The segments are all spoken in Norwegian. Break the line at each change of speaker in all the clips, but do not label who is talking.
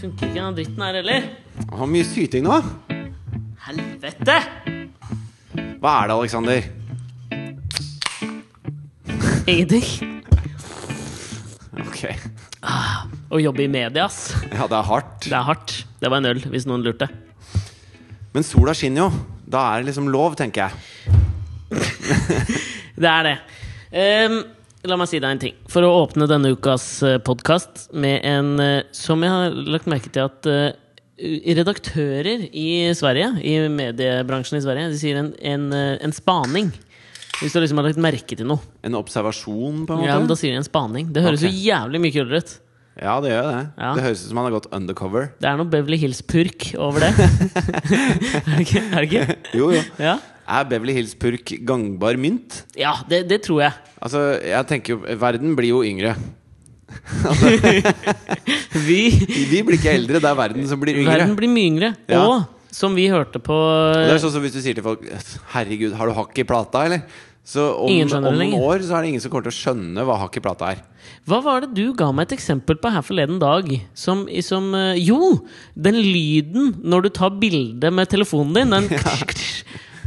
funker ikke den dritten her heller.
Det var mye syting nå.
Helvete!
Hva er det, Aleksander?
Ingenting.
Ok.
Å jobbe i media, ass.
Ja, det er hardt.
Det er hardt. Det var en øl, hvis noen lurte.
Men sola skinner jo. Da er det liksom lov, tenker jeg.
Det er det. Ehm, la meg si deg en ting. For å åpne denne ukas podkast med en eh, som jeg har lagt merke til at eh, redaktører i Sverige, i mediebransjen i Sverige, de sier en, en, eh, en spaning. Hvis du liksom har lagt merke til noe.
En observasjon, på en måte.
Ja, men Da sier de en spaning. Det høres
Ok.
jo jævlig mye kulere ut.
Ja, det gjør det.
Ja.
Det høres ut som han har gått undercover.
Det er noe Beverly Hills-purk over det. er det ikke? Er det ikke?
Jo, jo.
Ja,
Er Beverly Hills Purk gangbar mynt?
ja det, det tror jeg.
Altså, jeg tenker jo Verden blir jo yngre.
Vi
Vi blir ikke eldre, det er verden som blir yngre.
Verden blir mye yngre.
Ja.
Og som vi hørte på
Det er sånn som Hvis du sier til folk 'Herregud, har du hakk i plata', eller? Så om,
Ingen
om
skjønner det
noen
lenger.
år så er det ingen som kommer til å skjønne hva hakk i plata er.
Hva var det du ga meg et eksempel på her forleden dag? Som, som eh, Jo! Den lyden når du tar bilde med telefonen din. Den ktsj, ktsj,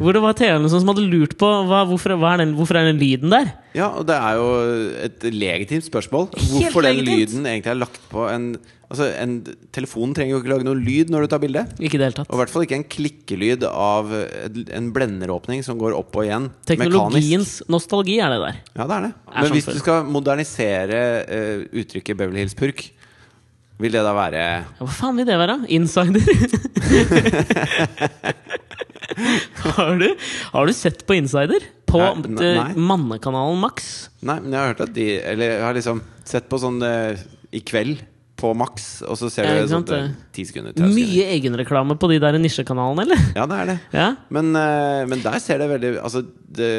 Hvor det var TV-en som hadde lurt på hva, hvorfor, hva er den, hvorfor er den lyden der?
Ja, og det er jo et legitimt spørsmål.
Helt
Hvorfor den
legitimt.
lyden egentlig er lagt på en Altså, en telefon trenger jo ikke lage noe lyd når du tar bilde.
Ikke i det hele tatt.
Og i hvert fall ikke en klikkelyd av et- en blenderåpning som går opp og igjen. Mekanisk.
Teknologiens nostalgi er det der.
Ja, det er det.
er
Men
sånn
hvis
før.
du skal modernisere eh, uttrykket Beverly Hills Purk, vil det da være
Ja, Hva faen vil det være? Insider? har, du, har du sett på Insider? På
Nei, nei,
eh,
nei.
mannekanalen Max?
Nei, men jeg har hørt at de Eller jeg har liksom sett på sånn eh, i kveld på maks, og så ser
Ja,
du
ikke sant,
sånt eh,
det.
ti sekunder, 30 sekunder.
Mye egenreklame på de der nisjekanalene, eller?
Ja, det er det.
Ja?
Men, eh, men der ser det veldig Altså, det,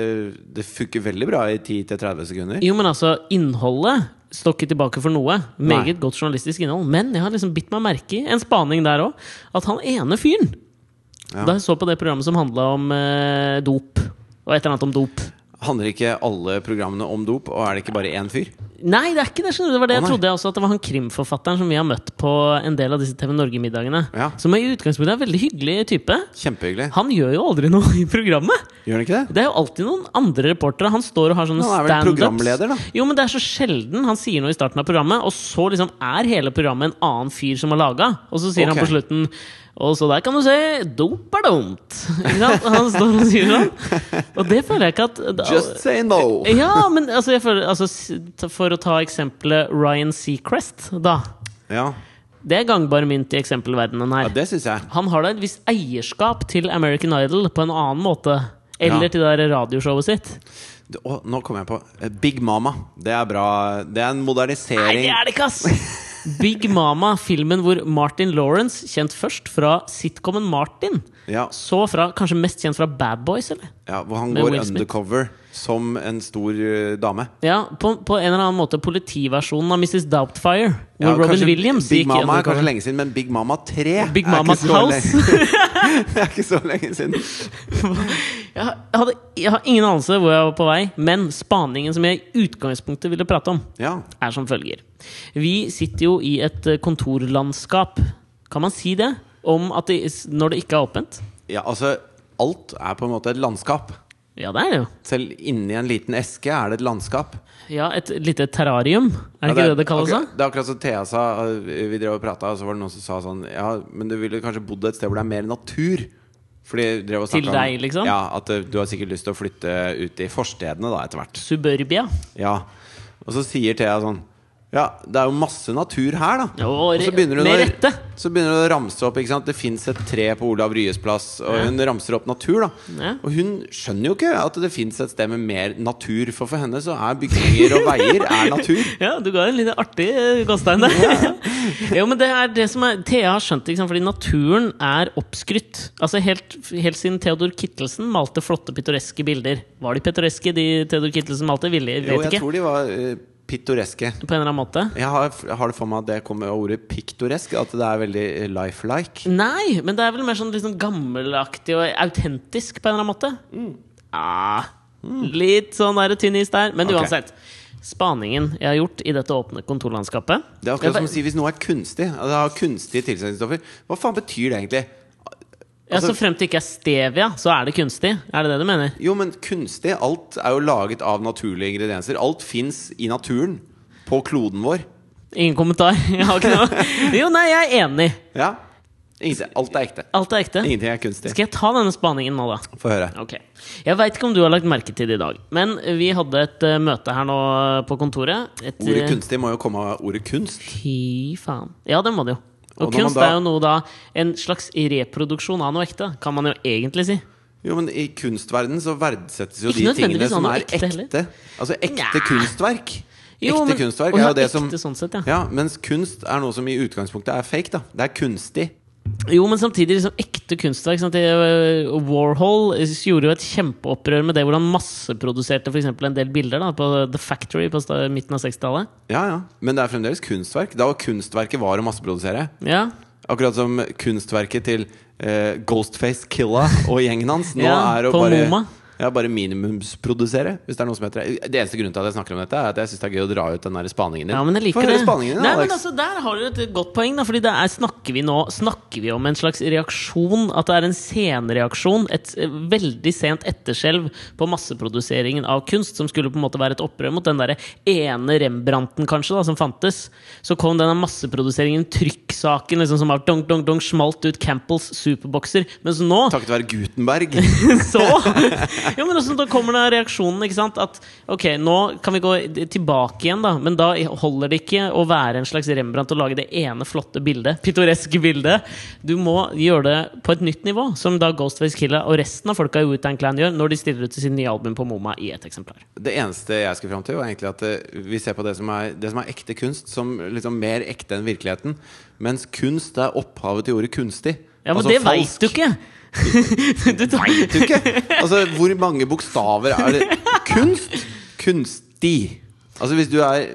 det funker veldig bra i 10-30 sekunder.
Jo, men altså, innholdet står ikke tilbake for noe. Meget
Nei.
godt journalistisk innhold. Men jeg har liksom bitt meg merke i en spaning der òg, at han ene fyren
Ja.
Da jeg så på det programmet som handla om eh, dop, og et eller annet om dop
Handler ikke alle programmene om dop, og er det ikke bare én fyr?
Nei, det er ikke det! skjønner du. Det var det
Å,
jeg
nei.
trodde også, at det var han krimforfatteren som vi har møtt på en del av disse TV Norge-middagene.
Ja.
Som er i utgangspunktet er en veldig hyggelig type.
Kjempehyggelig.
Han gjør jo aldri noe i programmet!
Gjør han ikke det?
Det er jo alltid noen andre reportere. Han står og har sånne
Han er vel
standups.
programleder, da.
Jo, men det er så sjelden han sier noe i starten av programmet, og så liksom er hele programmet en annen fyr som har laga. Og så sier han
Ok.
på slutten Og så der kan du se, dop er dumt. Ikke sant? Han står og sier sånn. Og det føler jeg ikke at
Just say no!
Ja, men altså, jeg føler, altså s- For å ta eksempelet Ryan Seacrest, da.
Ja,
Det er gangbar mynt i eksempelverdenen her.
ja det syns jeg.
Han har da et visst eierskap til American Idol på en annen måte. Eller
Ja.
til det der radioshowet sitt.
Du, Å, nå kom jeg på eh, Big Mama. Det er bra. Det er en
Nei,
modernisering.
det er det ikke, ass! Big Mama, filmen hvor Martin Lawrence, kjent først fra sitcomen Martin,
ja,
så fra, kanskje mest kjent fra Bad Boys, eller?
ja, hvor han
Med
går
Will Smith.
undercover som en stor eh, dame.
Ja, på, på en eller annen måte politiversjonen av Mrs. Doubtfire, hvor
Ja,
Robin
kanskje
Williams
Big
gikk
Mama er kanskje
undercover.
lenge siden, men Big Mama 3
Big
er ikke
Mamas
så
House.
lenge- Det er ikke så lenge siden.
Jeg, hadde, jeg har ingen anelse hvor jeg var på vei, men spaningen som jeg i utgangspunktet ville prate om,
Ja.
er som følger. Vi sitter jo i et eh, kontorlandskap. Kan man si det? Om at det, når det ikke er åpent?
ja, altså Alt er på en måte et landskap.
Ja, det er det jo.
Selv inni en liten eske er det et landskap.
Ja, et lite terrarium. Er det ikke
Ja,
det det kalles? da?
akkurat- Det er akkurat som Thea sa. øh, Vi drev og prata, og så var det noen som sa sånn Ja, men du ville kanskje bodd et sted hvor det er mer natur? Fordi vi drev og
Til
snakket om-
deg, liksom?
Ja, at øh, du har sikkert lyst til å flytte ut i forstedene da, etter hvert.
Suburbia.
Ja. Og så sier Thea sånn ja, det er jo masse natur her, da.
Ja, og
og
re-
så begynner hun,
med
å,
rette.
så begynner hun å ramse opp. Ikke sant? Det fins et tre på Olav Ryes plass, og
Ja.
hun ramser opp natur. da
Ja.
Og hun skjønner jo ikke at det fins et sted med mer natur, for for henne så er bygninger og veier er natur.
Ja, du ga en litt artig eh, gåstein der. jo, men det er det som er Thea har skjønt det, ikke sant? fordi naturen er oppskrytt. Altså helt, helt siden Theodor Kittelsen malte flotte, pittoreske bilder. Var de pittoreske, de Theodor Kittelsen malte? Ville, vet
Jo, jeg
ikke.
tror de var eh, pittoreske.
På en eller annen måte.
Jeg har, jeg har det for meg at det kommer av ordet piktoresk, at det er veldig eh, lifelike.
Nei, men det er vel mer sånn litt sånn gammelaktig og
Mm.
autentisk på en eller annen måte. Ah, litt sånn der tynn is der, men
Ok.
uansett. spaningen jeg har gjort i dette åpne kontorlandskapet.
Det er akkurat som å si hvis noe er kunstig. at Det har kunstige tilsetningsstoffer. Hva faen betyr det egentlig?
Ja, Så
altså-
frem til ikke er stevia, så er det kunstig? Er det det du mener?
Jo, men kunstig Alt er jo laget av naturlige ingredienser. Alt fins i naturen. På kloden vår.
Ingen kommentar? Jeg har ikke noe. Jo, nei, jeg er enig.
Ja. Ingenting. Alt er ekte.
Alt er ekte.
Ingenting er kunstig.
Skal jeg ta denne spaningen nå, da?
Få høre.
Ok. Jeg veit ikke om du har lagt merke til det i dag, men vi hadde et eh, møte her nå eh, på kontoret. Et,
Ordet
eh,
kunstig må jo komme av ordet kunst.
Fy faen. Ja, det må det jo. Og,
Og når man
kunst
da-
er jo noe da En slags reproduksjon av noe ekte, kan man jo egentlig si.
Jo, men i kunstverdenen så verdsettes jo
Ikke
de tingene
nødvendigvis
som
sånn
er
ekte
ekte.
heller.
Altså ekte
Nja.
kunstverk.
Jo,
ekte
men-
kunstverk
og
er
ja,
jo det
ekte
som
sånn sett, ja.
Ja, mens kunst er noe som i utgangspunktet er fake, da. Det er kunstig.
Jo, men samtidig liksom ekte kunstverk. sant? Det, øh, Warhol eh, gjorde jo et kjempeopprør med det hvor han masseproduserte for eksempel en del bilder da, på The Factory på sta- midten av 60-tallet.
Ja, ja. Men det er fremdeles kunstverk. Da kunstverket var å masseprodusere.
Ja.
Akkurat som kunstverket til eh, Ghostface Killa og gjengen hans. Nå
Ja,
er å
på
bare
MoMA.
ja, bare minimumsprodusere, hvis det er noe som heter det. Det eneste grunnen til at jeg snakker om dette, er at jeg syns det er gøy å dra ut den der spaningen din.
ja, men jeg
Få
liker
høre
det.
spaningen din,
Nei, men
Alex.
altså, der har du et godt poeng, da, fordi det er, snakker vi nå Snakker vi om en slags reaksjon? At det er en senreaksjon? Et eh, veldig sent etterskjelv på masseproduseringen av kunst, som skulle på en måte være et opprør mot den derre ene Rembrandten, kanskje, da, som fantes. Så kom denne masseproduseringen, trykksaken, liksom, som var dong, dong, dong, smalt ut Campbells superbokser. Mens nå
Takket være Gutenberg.
så Jo, men også, da kommer da reaksjonen, ikke sant? At ok, nå kan vi gå tilbake igjen, da. Men da holder det ikke å være en slags Rembrandt og lage det ene flotte bildet. Pittoreske bildet. Du må gjøre det på et nytt nivå, som da Ghostface Killa og resten av folka i Wutan Clan gjør når de stiller ut til sin nye album på MoMA i et eksemplar.
Det eneste jeg skulle fram til, var egentlig at eh, vi ser på det som er, det som er ekte kunst, som liksom mer ekte enn virkeligheten. Mens kunst er opphavet til ordet kunstig.
Ja, men
Altså,
det
falsk-
veit du ikke! du tar,
Vet du ikke? Altså, hvor mange bokstaver er det? Kunst? Kunstig. Altså, hvis du er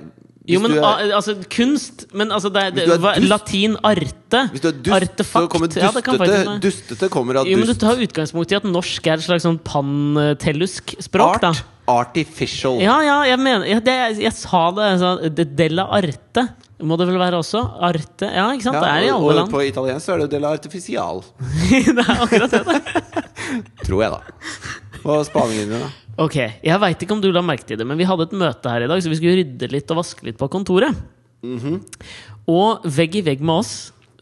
jo,
hvis
men
du er,
al- altså, kunst Men altså, det, er- det,
Hvis du er
hva-
dust-
latin arte.
hvis du er dust, så kommer
Ja, det
dustete.
kan faktisk være.
dustete kommer av
Jo, men du
dust.
tar utgangspunkt i at norsk er et slags sånn pantellusk språk, da.
Art. Artificial.
Ja, ja, jeg mener Jeg, det, jeg sa det. jeg sa, de- Della arte må det vel være også? Arte Ja, ikke sant?
Ja,
det er i
og-
alle
Og
land.
på italiensk så er det del artificial.
det er akkurat det. da.
Tror jeg, da. Og spaningen din, da.
Ok, Jeg veit ikke om du la merke til det, men vi hadde et møte her i dag, så vi skulle rydde litt og vaske litt på kontoret.
Mhm.
Og vegg i vegg med oss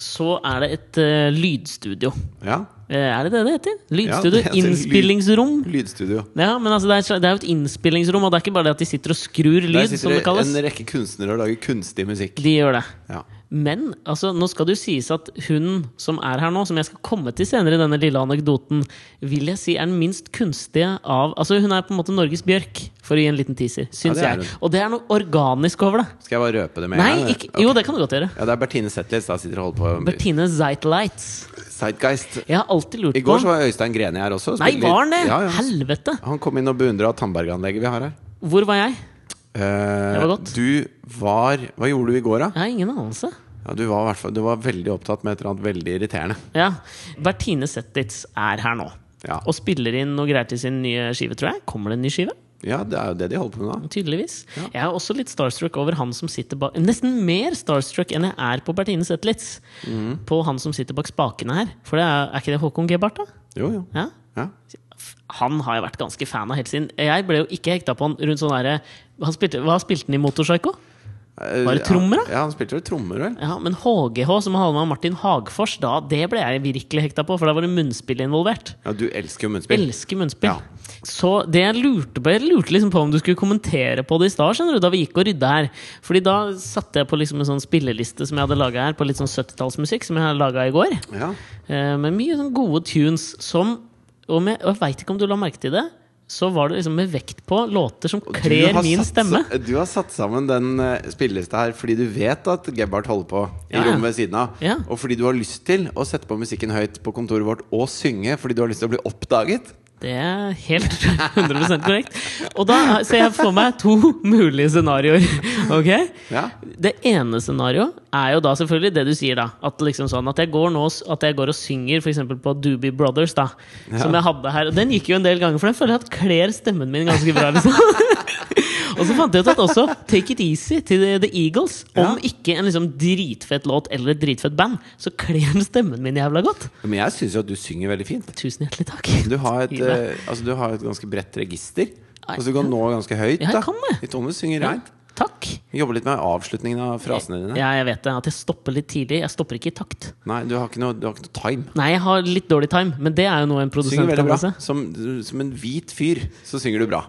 så er det et eh, lydstudio.
Ja.
Eh, er det det det heter?
Ja,
Lydstudio?
det heter lyd-
innspillingsrom?
Lydstudio.
Ja, men altså, det, er, et sla- det er jo et innspillingsrom, og det er ikke bare det at de sitter og skrur
Der
lyd, som
sitter
det
det
kalles.
en rekke kunstnere og lager kunstig musikk.
De gjør det.
Ja.
Men altså, nå skal det jo sies at hun som er her nå, som jeg skal komme til senere i denne lille anekdoten, vil jeg si er den minst kunstige av Altså, hun er på en måte Norges Bjørk, for å gi en liten teaser, syns
det
jeg.
er hun.
Og det er noe organisk over det.
Skal jeg bare røpe det med
Nei,
en gang?
ikke, jo, det kan du godt gjøre.
Ja, det er Bertine Zetlitz da sitter og holder på med
Bertine Zeitlights.
Zeitgeist.
Jeg har alltid lurt
I går så
på
var Øystein Greni her også. og
Nei,
spilte litt-
var han det?
Ja, ja.
Helvete!
Han kom inn og beundra tannberganlegget vi har her.
Hvor var jeg?
Eh,
Det var godt.
Du var Hva gjorde du i går, da?
Jeg har ingen anelse.
Ja, du, var, i hvert fall- du var veldig opptatt med et eller annet veldig irriterende.
Ja, Bertine Zetlitz er her nå.
Ja.
Og spiller inn noe greier til sin nye skive, tror jeg. Kommer det en ny skive?
Ja, det er jo det de holder på med da.
Tydeligvis. Jeg er også litt starstruck over han som sitter bak Nesten mer starstruck enn jeg er på Bertine Zetlitz. På han som sitter bak spakene her. For det er, er ikke det Håkon Gebhardt, da?
Jo, jo.
Ja.
Ja.
F- Han har jeg vært ganske fan av helt siden. Jeg ble jo ikke hekta på han rundt sånn derre han spilte, Hva spilte han i Motorpsycho?
Eh,
Var det trommer, da?
Ja, han spilte vel trommer, vel?
Ja, men HGH, som hadde med Martin Hagfors, da, det ble jeg virkelig hekta på, for da var det munnspill involvert.
Ja, du elsker jo munnspill.
Elsker munnspill.
Ja.
Så det jeg lurte på Jeg lurte liksom på om du skulle kommentere på det i stad, skjønner du, da vi gikk og rydda her. Fordi da satte jeg på liksom en sånn spilleliste som jeg hadde laga her, på litt sånn 70-tallsmusikk som jeg laga i går.
Ja.
Eh, med mye sånn gode tunes som Og med- og jeg veit ikke om du la merke til det, så var det liksom med vekt på låter som
Du har
kler min
satt,
stemme.
Du har satt sammen den eh, spillelista her fordi du vet at Gebhardt holder på i
Ja, ja.
rommet ved siden av.
Ja.
Og fordi du har lyst til å sette på musikken høyt på kontoret vårt og synge fordi du har lyst til å bli oppdaget.
Det er helt 100 korrekt. Og da ser jeg for meg to mulige scenarioer. Ok?
Ja.
Det ene scenarioet er jo da selvfølgelig det du sier, da. At, liksom sånn, at, jeg, går nå, og s- at jeg går og synger f.eks. på Doobie Brothers, da. Som jeg hadde her. Og den gikk jo en del ganger, for den føler jeg at kler stemmen min ganske bra. Liksom. og så fant jeg ut at også Take It Easy til The Eagles, om
Ja.
ikke en liksom dritfett låt eller et dritfett band, så kler den stemmen min jævla godt.
Men jeg syns jo at du synger veldig fint.
Tusen hjertelig takk.
Du har et,
Hyggelig.
eh, altså, du har et ganske bredt register. Altså, du kan nå ganske høyt.
Ja, jeg
Da.
kan det.
I tone synger
Ja,
reint.
Takk.
Jobber litt med avslutningen av frasene dine.
Ja, jeg vet det. At jeg stopper litt tidlig. Jeg stopper ikke i takt.
Nei, du har ikke noe, du har ikke noe time.
Nei, jeg har litt dårlig time, men det er jo noe en produsent
Synger veldig
kan
bra.
lese.
Som, som en hvit fyr så synger du bra.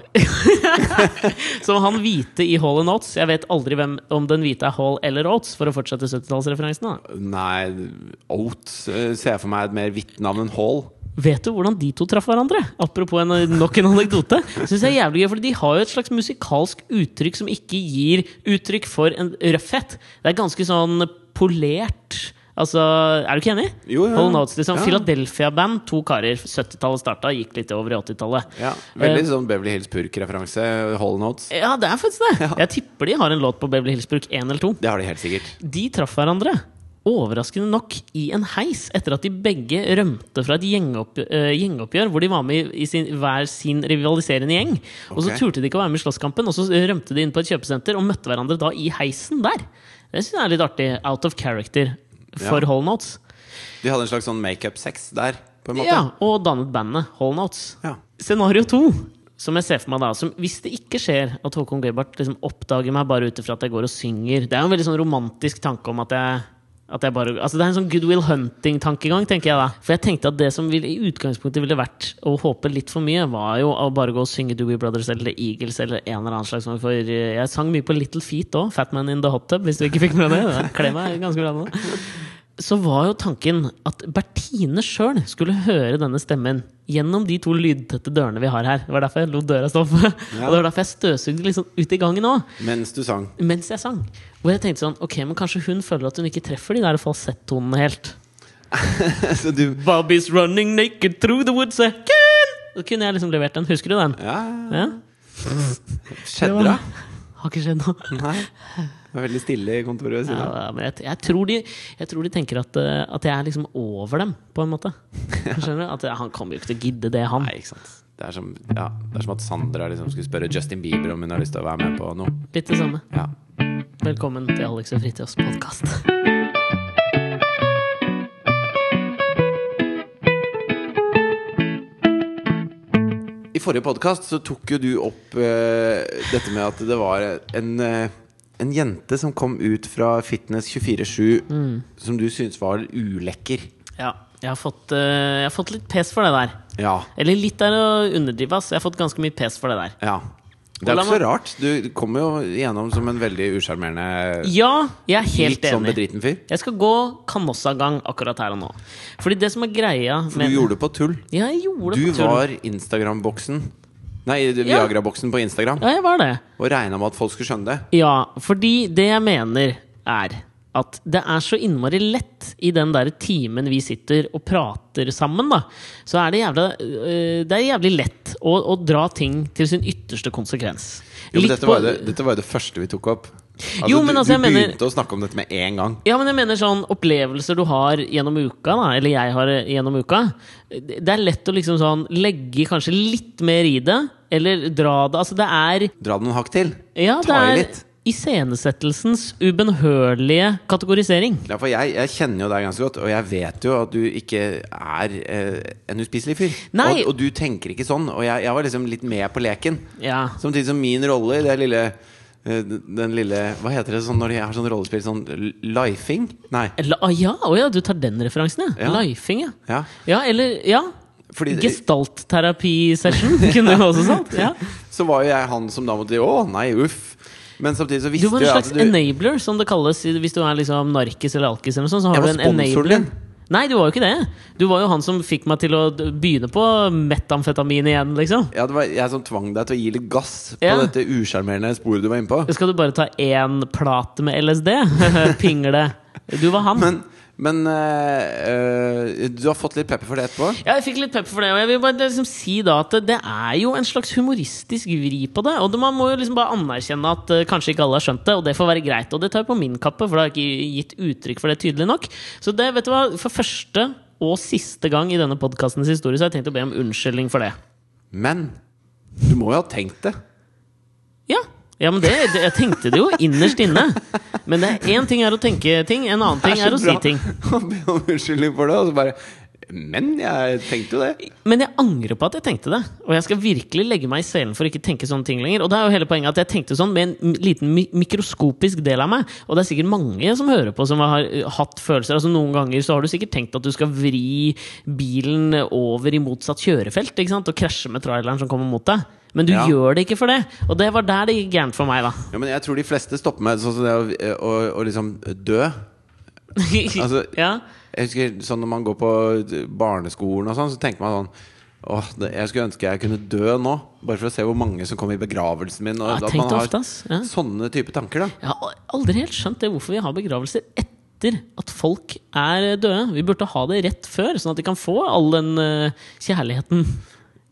Som han hvite i Hall and Oates. Jeg vet aldri hvem, om den hvite er Hall eller Oates, for å fortsette 70-tallsreferansen. da.
Nei, Oats eh, ser jeg for meg er et mer hvitt navn enn Hall.
Vet du hvordan de to traff hverandre? Apropos en, eh, nok en anekdote. Synes jeg er jævlig gøy, fordi De har jo et slags musikalsk uttrykk som ikke gir uttrykk for en røffhet. Det er ganske sånn polert. Altså, Er du ikke enig?
Jo, ja.
Hall Notes, liksom.
Ja.
Philadelphia-band, to karer. 70-tallet starta, gikk litt over i 80-tallet.
Ja,
Eh.
Veldig sånn Beverly Hills Purk-referanse. Hall Notes.
Ja, det er faktisk det! Jeg tipper de har en låt på Beverly Hillsburg 1 eller 2.
Det har de helt sikkert.
De traff hverandre, overraskende nok, i en heis etter at de begge rømte fra et gjengopp, eh, gjengoppgjør hvor de var med i, i sin, hver sin rivaliserende gjeng. Og så
Ok.
turte de ikke å være med i slåsskampen, og så rømte de inn på et kjøpesenter og møtte hverandre da i heisen der. Det syns jeg er litt artig. Out of character for
Ja.
Hall Notes.
De hadde en slags sånn makeup-sex der, på en måte.
Ja, og dannet bandet Hall Notes.
Ja.
Scenario to, som jeg ser for meg da som, Hvis det ikke skjer at Håkon Gebhardt liksom oppdager meg bare ut ifra at jeg går og synger Det er jo en veldig sånn romantisk tanke om at jeg at jeg bare, altså det er en sånn Goodwill Hunting-tankegang, tenker jeg da. For jeg tenkte at det som ville, i utgangspunktet ville vært å håpe litt for mye, var jo å bare gå og synge Doobie Brothers eller Eagles eller en eller annen slags form for eh, Jeg sang mye på Little Feet òg, Fat Man in the Hot Tub, hvis du ikke fikk med deg det. Kle meg ganske bra med det så var jo tanken at Bertine sjøl skulle høre denne stemmen gjennom de to lydtette dørene vi har her. Det var derfor jeg lot døra stå oppe.
Ja.
Og det var derfor jeg støvsugde liksom ut i gangen òg,
Mens du sang.
mens jeg sang. Hvor jeg tenkte sånn Ok, men kanskje hun føler at hun ikke treffer de der falsettonene helt.
Så du
Bobby's running naked through the woods eh, kun! Da kunne jeg liksom levert den. Husker du den?
Ja,
Ja?
skjedde det?
Har ikke skjedd noe.
Nei. Det var veldig stille i kontoret ved siden av.
Ja, men jeg, jeg, tror de, jeg tror de tenker at, eh, at jeg er liksom over dem, på en måte. Skjønner du? At eh, Han kommer jo ikke til å gidde det, han.
Nei, ikke sant. Det er som, ja, det er som at Sandra liksom skulle spørre Justin Bieber om hun har lyst til å være med på noe.
Litt det samme.
Ja.
Velkommen til Alex og Fritjofs podkast.
I forrige podkast så tok jo du opp eh, dette med at det var en, eh, en jente som kom ut fra Fitness 24-7
Mm.
som du syntes var ulekker.
Ja, jeg har, fått, eh, jeg har fått litt pes for det der.
Ja.
Eller litt er å underdrive, ass. Jeg har fått ganske mye pes for det der.
ja. Det er
Og la
jo ikke så rart. Du du kommer jo igjennom som en veldig usjarmerende,
Ja, jeg er helt
litt sånn
enig.
bedriten fyr.
Jeg skal gå Canossa-gang akkurat her og nå. Fordi det som er greia
Du
med
gjorde det på tull.
Ja, jeg gjorde
Du
det på tull.
var Instagram-boksen. Nei, du-
Ja.
Viagra-boksen på Instagram.
Ja, jeg var det.
Og regna med at folk skulle skjønne det.
Ja, fordi det jeg mener er at det er så innmari lett i den der timen vi sitter og prater sammen, da. Så er det jævla øh, Det er jævlig lett å, å dra ting til sin ytterste konsekvens.
Jo, men
Litt
dette,
på-
var jo det, dette var jo det første vi tok opp. Altså,
Jo, men
du,
altså, jeg
du
mener-
begynte å snakke om dette med en gang.
Ja, men jeg mener sånn opplevelser du har gjennom uka, da, eller jeg har gjennom uka. Det er lett å liksom sånn legge kanskje litt mer i det, eller dra det Altså, det er
Dra det noen hakk til.
Ja, det
Ta i
er
litt.
iscenesettelsens ubønnhørlige kategorisering.
Ja, for jeg, jeg kjenner jo deg ganske godt, og jeg vet jo at du ikke er eh, en uspiselig fyr.
Nei.
Og, og du tenker ikke sånn. Og jeg, jeg var liksom litt med på leken.
Ja.
Samtidig som min rolle i det lille eh, Den lille Hva heter det sånn når jeg har sånn rollespill? Sånn l- lifing? Nei.
La, ah, ja, å ja, du tar den referansen, ja.
Ja.
Lifing, ja.
Ja.
Ja, eller Ja.
Fordi det-
Gestaltterapisession kunne du også sagt. Ja.
Så var jo jeg han som da måtte Å, nei, uff. Men samtidig så
Du
visste
var en
jeg
slags enabler, som det kalles i- hvis du er liksom narkis eller alkis. Eller noe sånt, så har
Jeg
du
var
en
sponsoren
enabler.
din.
Nei, du var jo ikke det. Du var jo han som fikk meg til å d- begynne på metamfetamin igjen, liksom.
Ja, det var jeg som tvang deg til å gi litt gass på
Ja.
dette usjarmerende sporet du var inne på.
Skal du bare ta én plate med LSD? Pingle. Du var han.
Men, men eh, eh, du har fått litt pepper for det etterpå?
Ja, jeg fikk litt pepper for det. Og jeg vil bare liksom si da at det er jo en slags humoristisk vri på det. Og det, man må jo liksom bare anerkjenne at eh, kanskje ikke alle har skjønt det, og det får være greit. Og det tar jeg på min kappe, for da har jeg ikke gitt uttrykk for det tydelig nok. Så det, vet du hva, for første og siste gang i denne podkastens historie så har jeg tenkt å be om unnskyldning for det.
Men du må jo ha tenkt det.
Ja. Ja, men det, det, Jeg tenkte det jo innerst inne. Men det er én ting er å tenke ting, en annen ting
Det
er, å si
bra.
ting.
Å be om unnskyldning for det, og så bare Men jeg tenkte jo det.
Men jeg angrer på at jeg tenkte det. Og jeg skal virkelig legge meg i selen for å ikke tenke sånne ting lenger. Og det er jo hele poenget at jeg tenkte sånn med en m- liten mi mikroskopisk del av meg. Og det er sikkert mange som hører på som har eh, hatt følelser. Altså Noen ganger så har du sikkert tenkt at du skal vri bilen over i motsatt kjørefelt ikke sant? og krasje med traileren som kommer mot deg. Men du
Ja.
gjør det ikke for det. Og det var der det gikk gærent for meg, da.
Ja, men jeg tror de fleste stopper med sånn som det å, å, å liksom dø. Altså,
ja.
Jeg husker sånn Når man går på barneskolen, og sånn så tenker man sånn Åh, det, jeg skulle ønske jeg kunne dø nå, bare for å se hvor mange som kom i begravelsen min. Og
Ja, jeg
at
tenkte
man har
ofte, ass. Ja.
Sånne type tanker, da.
Jeg har aldri helt skjønt det hvorfor vi har begravelser etter at folk er døde. Vi burde ha det rett før, sånn at de kan få all den eh, kjærligheten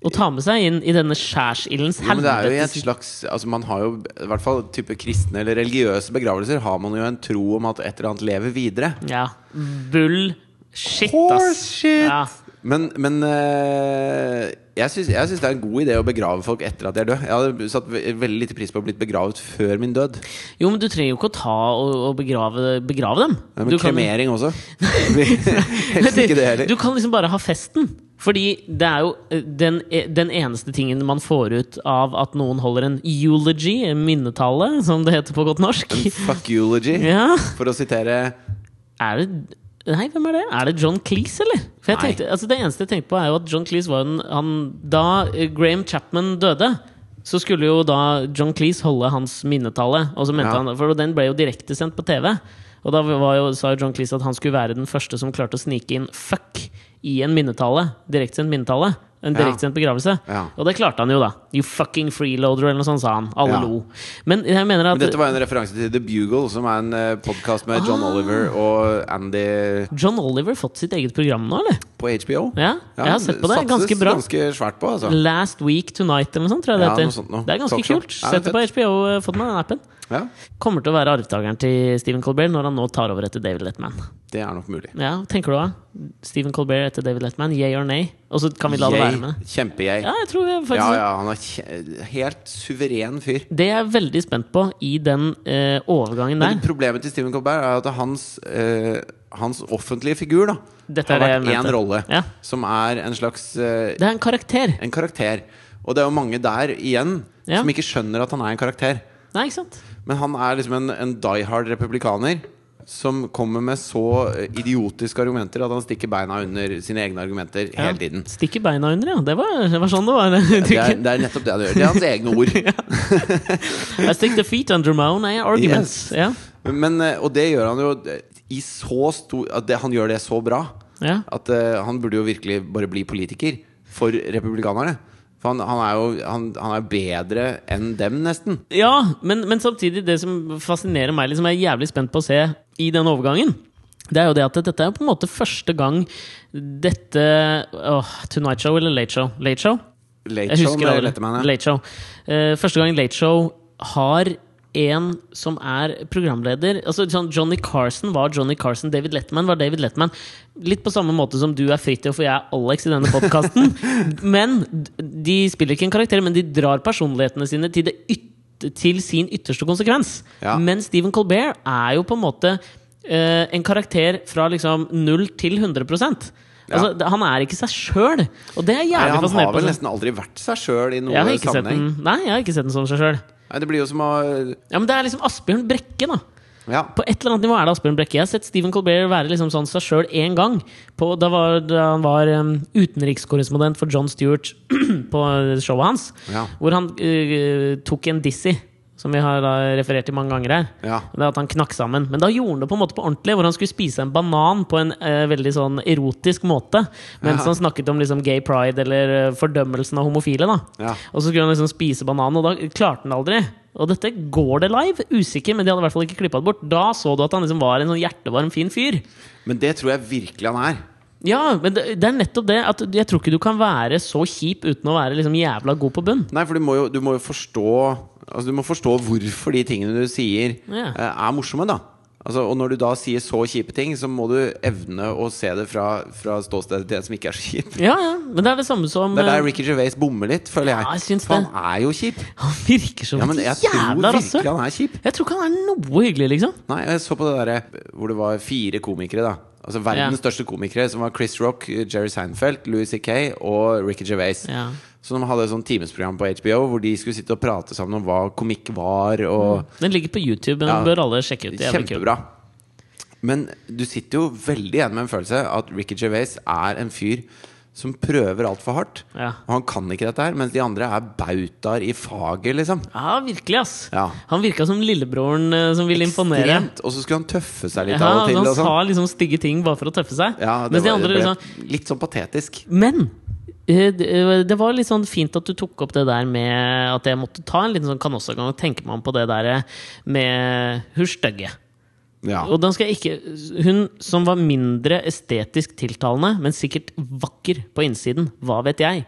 å ta med seg inn i denne skjærsildens
Ja, men det er jo i et
helvetes
slags Altså Man har jo i hvert fall type kristne eller religiøse begravelser har man jo en tro om at et eller annet lever videre.
Ja. Bull. Shit, ass.
Horseshit!
Ja.
Men, men eh, jeg syns jeg syns det er en god idé å begrave folk etter at de er døde. Jeg hadde satt ve veldig lite pris på å blitt begravet før min død.
Jo, men du trenger jo ikke å ta og, og begrave, begrave dem.
Nei, men
Du kan-
kremering også. Helst ikke det heller.
Du kan liksom bare ha festen. Fordi det er jo eh, den, eh, den eneste tingen man får ut av at noen holder en eulogy, en minnetale, som det heter på godt norsk.
Fuck eulogy,
Ja.
for å sitere
Er det Nei, hvem er det? Er det John Cleese, eller? For jeg
Nei.
tenkte, altså Det eneste jeg tenkte på, er jo at John Cleese var en han, Da eh, Graham Chapman døde, så skulle jo da John Cleese holde hans minnetale. Og så mente
Ja.
han, For den ble jo direktesendt på TV. Og da var jo, sa jo John Cleese at han skulle være den første som klarte å snike inn 'fuck' i en minnetale. Direktesendt minnetale. En
Ja.
direktesendt begravelse.
Ja.
Og det klarte han jo, da. 'You fucking freeloader', eller noe sånt, sa han. Alle
Ja.
lo. Men jeg mener at
Men dette var en referanse til The Bugle, som er en podkast med
Ah.
John Oliver og Andy
John Oliver fått sitt eget program nå, eller?
på HBO.
Ja, jeg har sett på det.
satses
Ganske bra.
Ganske svært på, altså.
Last Week Tonight eller noe sånt, tror jeg det
Ja,
heter.
noe sånt noe.
Det er ganske
Talkshow.
kult.
Ja,
Sett det på HBO, eh, fått med den appen.
Ja,
Kommer til å være arvtakeren til Stephen Colbert når han nå tar over etter David Letman.
det er nok mulig.
Ja, hva tenker du da? Stephen Colbert etter David Letman, yay or nay? Og så kan vi la det
Yay.
være med det.
Kjempe-yay.
Ja, jeg tror jeg faktisk
Ja, ja, han er kje- helt suveren fyr.
Det jeg er veldig spent på i den eh, overgangen
Men
der.
problemet til Stephen Colbert er at hans, eh, hans offentlige figur da,
Dette er
har
det jeg
vært én
mente.
rolle,
Ja.
som er en slags eh,
Det er en karakter.
en karakter. Og det er jo mange der igjen
Ja.
som ikke skjønner at han er en karakter.
Nei, ikke sant?
Men han er liksom en, en die hard republikaner som kommer med så eh, idiotiske argumenter at han stikker beina under sine egne argumenter
Ja.
hele tiden.
Stikker beina under, ja. Det var, det var sånn det var.
Det er, det er nettopp det han gjør. Det er hans egne ord.
I stick the feet under my own eh, arguments. Ja.
Men, eh, og det gjør han jo eh, i så stor at det, Han gjør det så bra
Ja.
at eh, han burde jo virkelig bare bli politiker for republikanerne. For han, han er jo han, han er bedre enn dem, nesten.
Ja, men, men samtidig, det som fascinerer meg, liksom, jeg er jævlig spent på å se i den overgangen, det er jo det at dette er på en måte første gang dette åh, Tonight Show eller Late Show? Late Show?
Late
Jeg
Show
husker
med
aldri.
Letterman, ja.
Late Show. Eh, første gang Late Show har en som er programleder Altså sånn Johnny Carson var Johnny Carson, David Letman var David Letman. Litt på samme måte som du er Fridtjof og jeg er Alex i denne podkasten. men d- de spiller ikke en karakter, men de drar personlighetene sine til, det yt til sin ytterste konsekvens.
Ja.
Men Stephen Colbert er jo på en måte eh, en karakter fra liksom 0 til 100 Altså,
Ja.
det- Han er ikke seg sjøl, og det er
Nei,
jævlig
han
fascinerende.
har vel nesten aldri vært seg sjøl i noen
Jeg har ikke sett den
sammenheng.
Nei, jeg har ikke sett den som seg sjøl.
Nei, det blir jo som å
Ja, men det er liksom Asbjørn Brekke, da.
Ja.
På et eller annet nivå er det Asbjørn Brekke. Jeg har sett Stephen Colbert være liksom sånn seg sjøl én gang. På, da, var, da han var um, utenrikskorrespondent for John Stewart på uh, showet hans.
Ja.
Hvor han eh, tok en dizzy, som vi har da referert til mange ganger her.
Ja.
Det er at han knakk sammen. Men da gjorde han det på en måte på ordentlig, hvor han skulle spise en banan på en eh, veldig sånn erotisk måte. Mens
Ja.
han snakket om liksom gay pride eller eh, fordømmelsen av homofile. da
Ja.
Og så skulle han liksom spise bananen, og da klarte han det aldri. Og dette går det live, usikker, men de hadde i hvert fall ikke klippa det bort. Da så du at han liksom var en sånn hjertevarm, fin fyr.
Men det tror jeg virkelig han er.
Ja, men det, det er nettopp det at jeg tror ikke du kan være så kjip uten å være liksom jævla god på bunn.
Nei, for du må jo, du må jo forstå Altså du må forstå hvorfor de tingene du sier,
Ja.
eh, er morsomme, da. Altså, og når du da sier så kjipe ting, så må du evne å se det fra, fra ståstedet til en som ikke er så kjip.
Ja, ja, men det er det samme som
Det er der
eh,
Ricky Gervais bommer litt, føler jeg.
Ja, jeg syns
For
det.
han er jo kjip.
eh, Han virker som
Ja, men
et
jeg tror
jævla
virkelig
rasshøl.
han er kjip.
Jeg tror ikke han er noe hyggelig, liksom.
Nei, jeg så på det derre hvor det var fire komikere, da. Altså verdens
Ja.
største komikere, som var Chris Rock, Jerry Seinfeld, Louis C.K. og Ricky Gervais.
Ja.
Så de hadde et sånt timesprogram på HBO hvor de skulle sitte og prate sammen om hva komikk var. Og
Den ligger på YouTube, den
Ja.
bør alle sjekke ut. Mm, Det er jævlig kult.
Kjempebra. Men du sitter jo veldig igjen med en følelse at Ricky Gervais er en fyr som prøver altfor hardt.
Ja.
Og han kan ikke dette her, mens de andre er bautaer i faget, liksom.
Ja, virkelig, ass.
Ja.
Han virka som lillebroren eh, som ville imponere.
Ekstremt, Og så skulle han tøffe seg litt
Ja,
av og til.
han
Og sånn.
sa liksom stygge ting bare for å tøffe seg.
ja, det,
Mens de
var,
andre
det
liksom
ble litt sånn patetisk.
Men eh, det eh, det var litt sånn fint at du tok opp det der med at jeg måtte ta en liten sånn kanossagang og tenke meg om på det der eh, med hun stygge.
Ja.
Og da skal jeg ikke Hun som var mindre estetisk tiltalende, men sikkert vakker på innsiden. Hva vet jeg?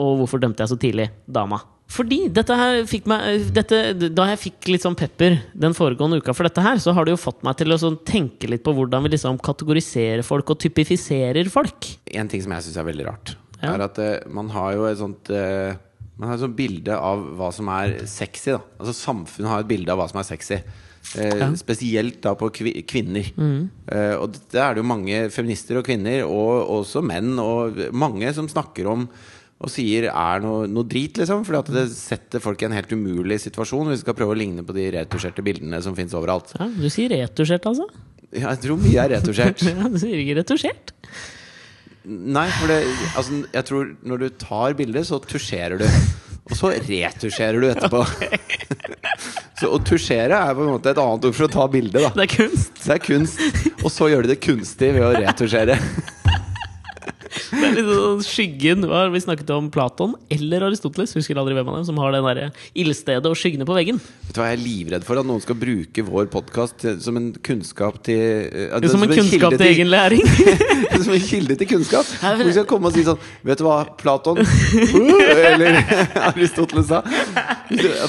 Og hvorfor dømte jeg så tidlig dama? Fordi dette her fikk meg dette, Da jeg fikk litt sånn pepper den foregående uka for dette her, så har det jo fått meg til å sånn tenke litt på hvordan vi liksom kategoriserer folk og typifiserer folk.
En ting som jeg syns er veldig rart,
Ja.
er at eh, man har jo et sånt eh, Man har et sånt bilde av hva som er sexy. Da. Altså Samfunnet har et bilde av hva som er sexy. Eh,
Ja. Mm.
Spesielt da på kvi kvinner. Eh, og det er det jo mange feminister og kvinner, og også menn, og mange som snakker om og sier er noe, noe drit, liksom. Fordi at det setter folk i en helt umulig situasjon hvis vi skal prøve å ligne på de retusjerte bildene som fins overalt.
Ja, du sier retusjert, altså?
Ja, Jeg tror mye er retusjert.
Ja, du sier ikke retusjert?
Nei, for det, altså, jeg tror når du tar bilder, så tusjerer du. Og så retusjerer du etterpå. så å tusjere er på en måte et annet ord for å ta bilde, da.
Det er kunst.
Så det er kunst. Og så gjør du det kunstig ved å retusjere.
Det er litt sånn skyggen Hva har vi snakket om? Platon eller Aristoteles? Husker aldri hvem av dem som har den derre ildstedet og skyggene på veggen.
Vet du hva, Jeg er livredd for at noen skal bruke vår podkast som en kunnskap til eh,
Det er som en kunnskap
kilde
til egen læring.
Som en kilde til kunnskap.
Nei, men-
Hvor de skal komme og si sånn Vet du hva Platon Uh, eller Aristoteles sa?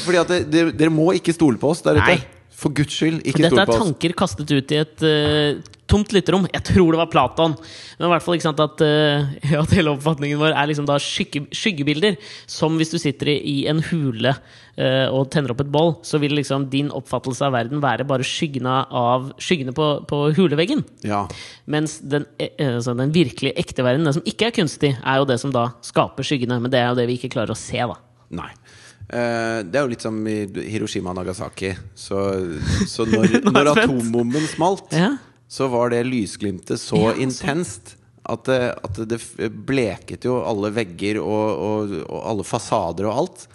Fordi at det- dere, dere må ikke stole på oss der
Nei.
ute. For guds skyld, ikke
Dette
stole
er
på oss.
tanker kastet ut i et eh, tomt lytterom. Jeg tror det var Platon. Men i hvert fall ikke sant at, eh, ja, at hele oppfatningen vår er liksom da skygge, skyggebilder. Som hvis du sitter i, i en hule eh, og tenner opp et bål, så vil liksom din oppfattelse av verden være bare skyggene, av, skyggene på, på huleveggen.
Ja.
Mens den, eh, eh, altså den virkelig ekte verden, den som ikke er kunstig, er jo det som da skaper skyggene. Men det er jo det vi ikke klarer å se, da.
Nei. Eh, det er jo litt som i Hiroshima og Nagasaki. Så, så når,
Nå er jeg
når
spent.
atombomben smalt,
Ja.
så var det lysglimtet så
Ja, sånn.
intenst at det, at det f- eh, bleket jo alle vegger og, og, og alle fasader og alt.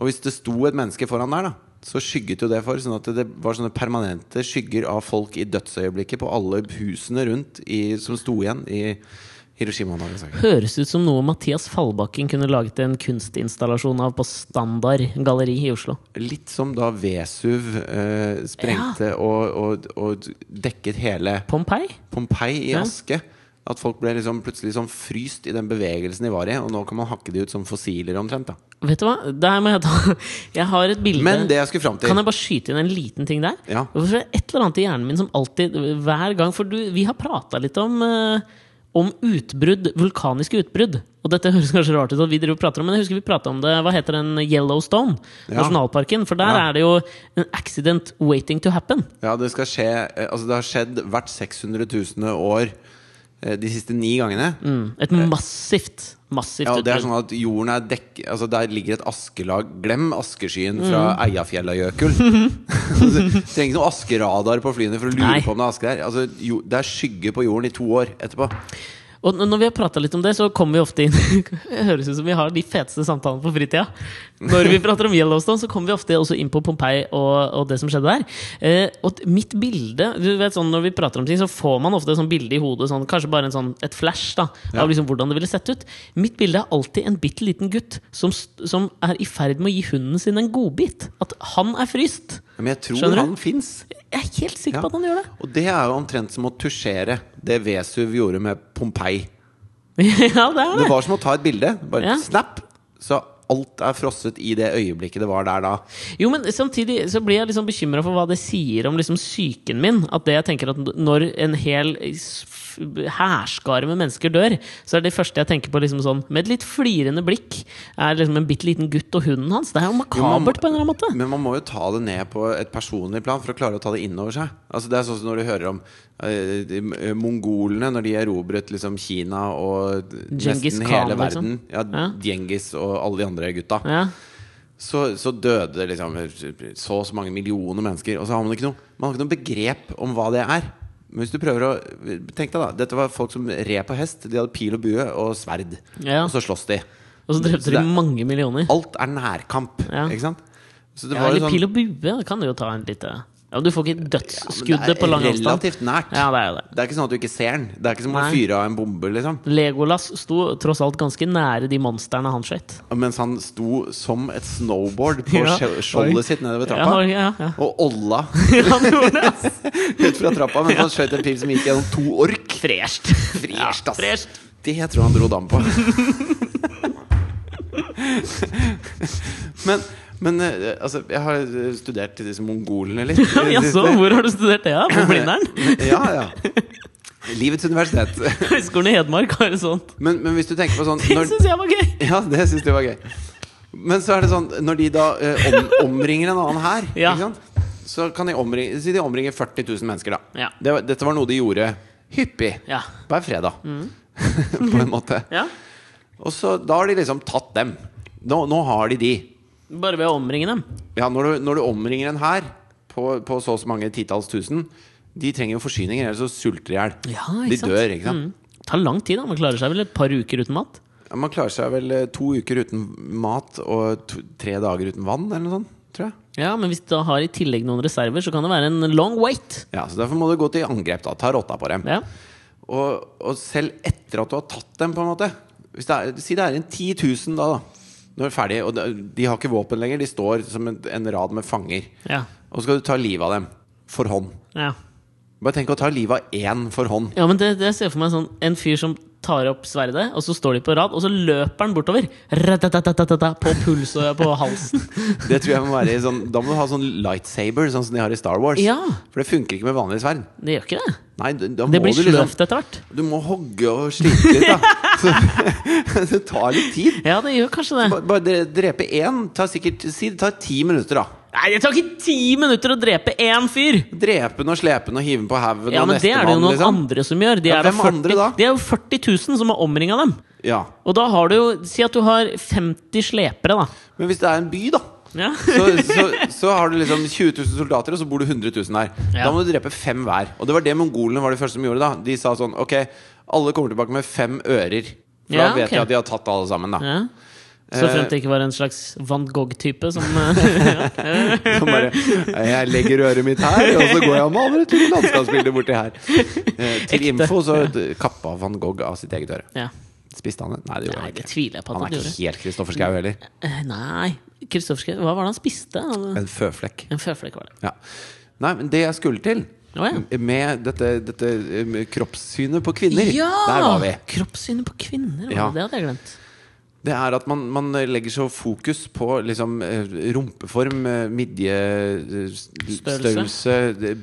Og hvis det sto et menneske foran der, da så skygget jo det for. Sånn at det var sånne permanente skygger av folk i dødsøyeblikket på alle husene rundt i, som sto igjen i Hiroshima og Nagasaki.
Høres ut som noe Mathias Fallbakken kunne laget en kunstinstallasjon av på Standard galleri i Oslo.
Litt som da Vesuv eh, sprengte og, og, og dekket hele
Pompeii?
Pompeii i
Ja.
aske. At folk ble liksom plutselig sånn fryst i den bevegelsen de var i. Og nå kan man hakke de ut som fossiler omtrent. da
Vet du hva? Der må jeg ta Jeg har et bilde
Men det jeg skulle fram til
Kan jeg bare skyte inn en liten ting der?
Ja.
Hvorfor er det et eller annet i hjernen min som alltid Hver gang For du, vi har prata litt om eh, om utbrudd, vulkaniske utbrudd. Og dette høres kanskje rart ut, at vi driver og prater om men jeg husker vi prata om det Hva heter den Yellowstone?
Ja.
Nasjonalparken. For der
Ja.
er det jo en accident waiting to happen.
Ja, det skal skje eh, Altså, det har skjedd hvert 600 000 år eh, de siste ni gangene.
Mm. Et massivt, massivt
Ja, og det er
utbrudd.
sånn at jorden er dekk... Altså, der ligger et askelag. Glem askeskyen fra
Mm.
Eiafjellajøkul. altså, du trenger ikke noe askeradar på flyene for å lure
Nei.
på om det er aske der. Altså, jo, det er skygge på jorden i to år etterpå.
Og n- når vi har prata litt om det, så kommer vi ofte inn Det høres ut som vi har de feteste samtalene på fritida. Når vi prater om Yellowstone, så kommer vi ofte også inn på Pompeii og, og det som skjedde der. Eh, og t- mitt bilde Du vet sånn Når vi prater om ting, så får man ofte et sånt bilde i hodet, sånn, kanskje bare en sånn, et flash da av liksom hvordan det ville sett ut. Mitt bilde er alltid en bitte liten gutt som, st- som er i ferd med å gi hunden sin en godbit. At han er fryst.
Men jeg tror
Skjønner du?
han fins.
Jeg er helt sikker
Ja.
på at han gjør det.
Og det er jo omtrent som å tusjere det Vesuv gjorde med Pompeii.
ja, det er det.
Det var som å ta et bilde. Bare
Ja.
snap! Så alt er frosset i det øyeblikket det var der da.
Jo, men samtidig så blir jeg liksom bekymra for hva det sier om liksom psyken min. At det jeg tenker at når en hel s- f- hærskare med mennesker dør, så er det første jeg tenker på liksom sånn med et litt flirende blikk, er liksom en bitte liten gutt og hunden hans. Det er jo
Jo, man må-
makabert på en eller annen måte.
Men man må jo ta det ned på et personlig plan for å klare å ta det innover seg. Altså Det er sånn som når du hører om eh, de, eh, mongolene når de erobret liksom Kina og
Genghis
nesten
Khan,
hele
liksom.
verden. Ja,
Ja.
Djengis og alle de andre gutta.
Ja.
så, så døde det liksom så og så mange millioner mennesker. Og så har man ikke noe, man har ikke noe begrep om hva det er. Men hvis du prøver å Tenk deg, da. Dette var folk som red på hest. De hadde pil og bue og sverd.
Ja.
Og så slåss de.
Og så drepte de
det-
mange millioner.
Alt er nærkamp.
Ja.
Ikke sant? Så det
Ja,
var jo
eller
sånn-
pil og bue det kan du jo ta en lite Ja, Du får ikke
Men det
dødsskuddet
er
på lang avstand.
Relativt nært.
Ja, det er jo det.
Det er ikke sånn at du ikke ser den. Det er ikke som å
Nei.
fyre av en bombe, liksom.
Legolas sto tross alt ganske nære de monstrene han skjøt.
Mens han sto som et snowboard på
Ja.
skje- skjoldet
Oi.
sitt nedover
Ja,
trappa.
ja, ja.
Og olla
Han gjorde det, altså. ass!
ut fra trappa mens han skjøt en pil som gikk gjennom to ork.
Fresht.
Fresht, ass.
Fresht.
Det jeg tror jeg han dro dam på. men men eh, altså, jeg har eh, studert disse mongolene litt.
Jaså, hvor har du studert det? da? På Blindern?
ja, ja. Livets universitet.
Høgskolen i Hedmark har et sånt.
Men, men hvis du tenker på sånn
Det
når,
syns jeg var gøy!
Ja, det syns jeg var gøy. Men så er det sånn når de da eh, om, omringer en annen her,
Ja.
ikke sant? så kan de omringe Si de omringer 40 000 mennesker, da.
Ja.
Det var, dette var noe de gjorde hyppig.
Ja.
Hver fredag.
Mm.
på en måte.
ja.
Og så, da har de liksom tatt dem. Nå, nå har de de.
Bare ved å omringe dem.
Ja, når du, når du omringer en hær på, på så og så mange titalls tusen De trenger jo forsyninger, ellers så sulter de i hjel.
Ja,
de
ikke sant?
dør, ikke sant.
Mm. Tar lang tid, da. Man klarer seg vel et par uker uten mat?
Ja, man klarer seg vel eh, to uker uten mat og to, tre dager uten vann, eller noe sånt, tror jeg.
Ja, men hvis du da har i tillegg noen reserver, så kan det være en long wait.
Ja, så Derfor må du gå til angrep. da Ta rotta på dem.
Ja.
Og, og selv etter at du har tatt dem, på en måte hvis det er, Si det er en 10 000 da, da. Når du er ferdig, og det- de har ikke våpen lenger. De står som en, en rad med fanger.
Ja.
Og så skal du ta livet av dem. For hånd.
ja.
Bare tenk å ta livet av én for hånd.
Ja, men det, det ser jeg for meg sånn En fyr som tar opp sverdet, og så står de på rad, og så løper han bortover. Ratatatatata, På puls og på halsen.
Det tror jeg må være i sånn, Da må du ha sånn lightsaber, sånn som de har i Star Wars.
Ja.
For det funker ikke med vanlig sverd.
Det gjør ikke det.
Nei, da da
Det
må
blir
du liksom
sløvt etter hvert.
Du må hogge og slite litt, da. Så det tar litt tid.
Ja, det gjør kanskje det.
Ba- Bare dre- drepe én tar sikkert si det tar ti minutter, da.
Nei, det tar ikke ti minutter å drepe én fyr!
Drepe den og slepe den og hive den på haugen
Ja,
og
men Det er det jo
nestemann,
noen
liksom.
andre som gjør. De
Ja,
er, da
hvem
40,
andre da?
de er jo 40 000 som har omringa dem.
Ja.
Og da har du jo Si at du har 50 slepere, da.
Men hvis det er en by, da,
Ja.
så, så, så har du liksom 20 000 soldater, og så bor det 100 000 der.
Ja.
Da må du drepe fem hver. Og det var det mongolene var de første som gjorde, da. De sa sånn Ok, alle kommer tilbake med fem ører. For
Ja,
da vet
ok.
vi at de har tatt alle sammen, da.
ja. Så
Eh,
frem til det ikke var en slags Van Gogh-type som eh,
Som bare Jeg legger øret mitt her, og så går jeg med andre til landskapsbildet borti her. Eh, til info så d- kappa van Gogh av sitt eget øre.
Ja.
Spiste han det? Nei, det gjorde
Nei,
han
det
ikke.
tviler jeg på at
Han
han
er ikke
gjorde.
helt Kristoffer Schou heller.
Eh, Nei. Kristoffer Hva var det han spiste? Han,
En føflekk.
en føflekk, var det.
Ja. Nei, men det jeg skulle til
Å,
med dette, dette eh, kroppssynet på kvinner
Ja!
Der var vi.
Kroppssynet på kvinner, var det?
Ja.
det hadde jeg glemt.
Det er at man, man legger så fokus på liksom, eh, rumpeform, eh, midje eh, s- størrelse, eh,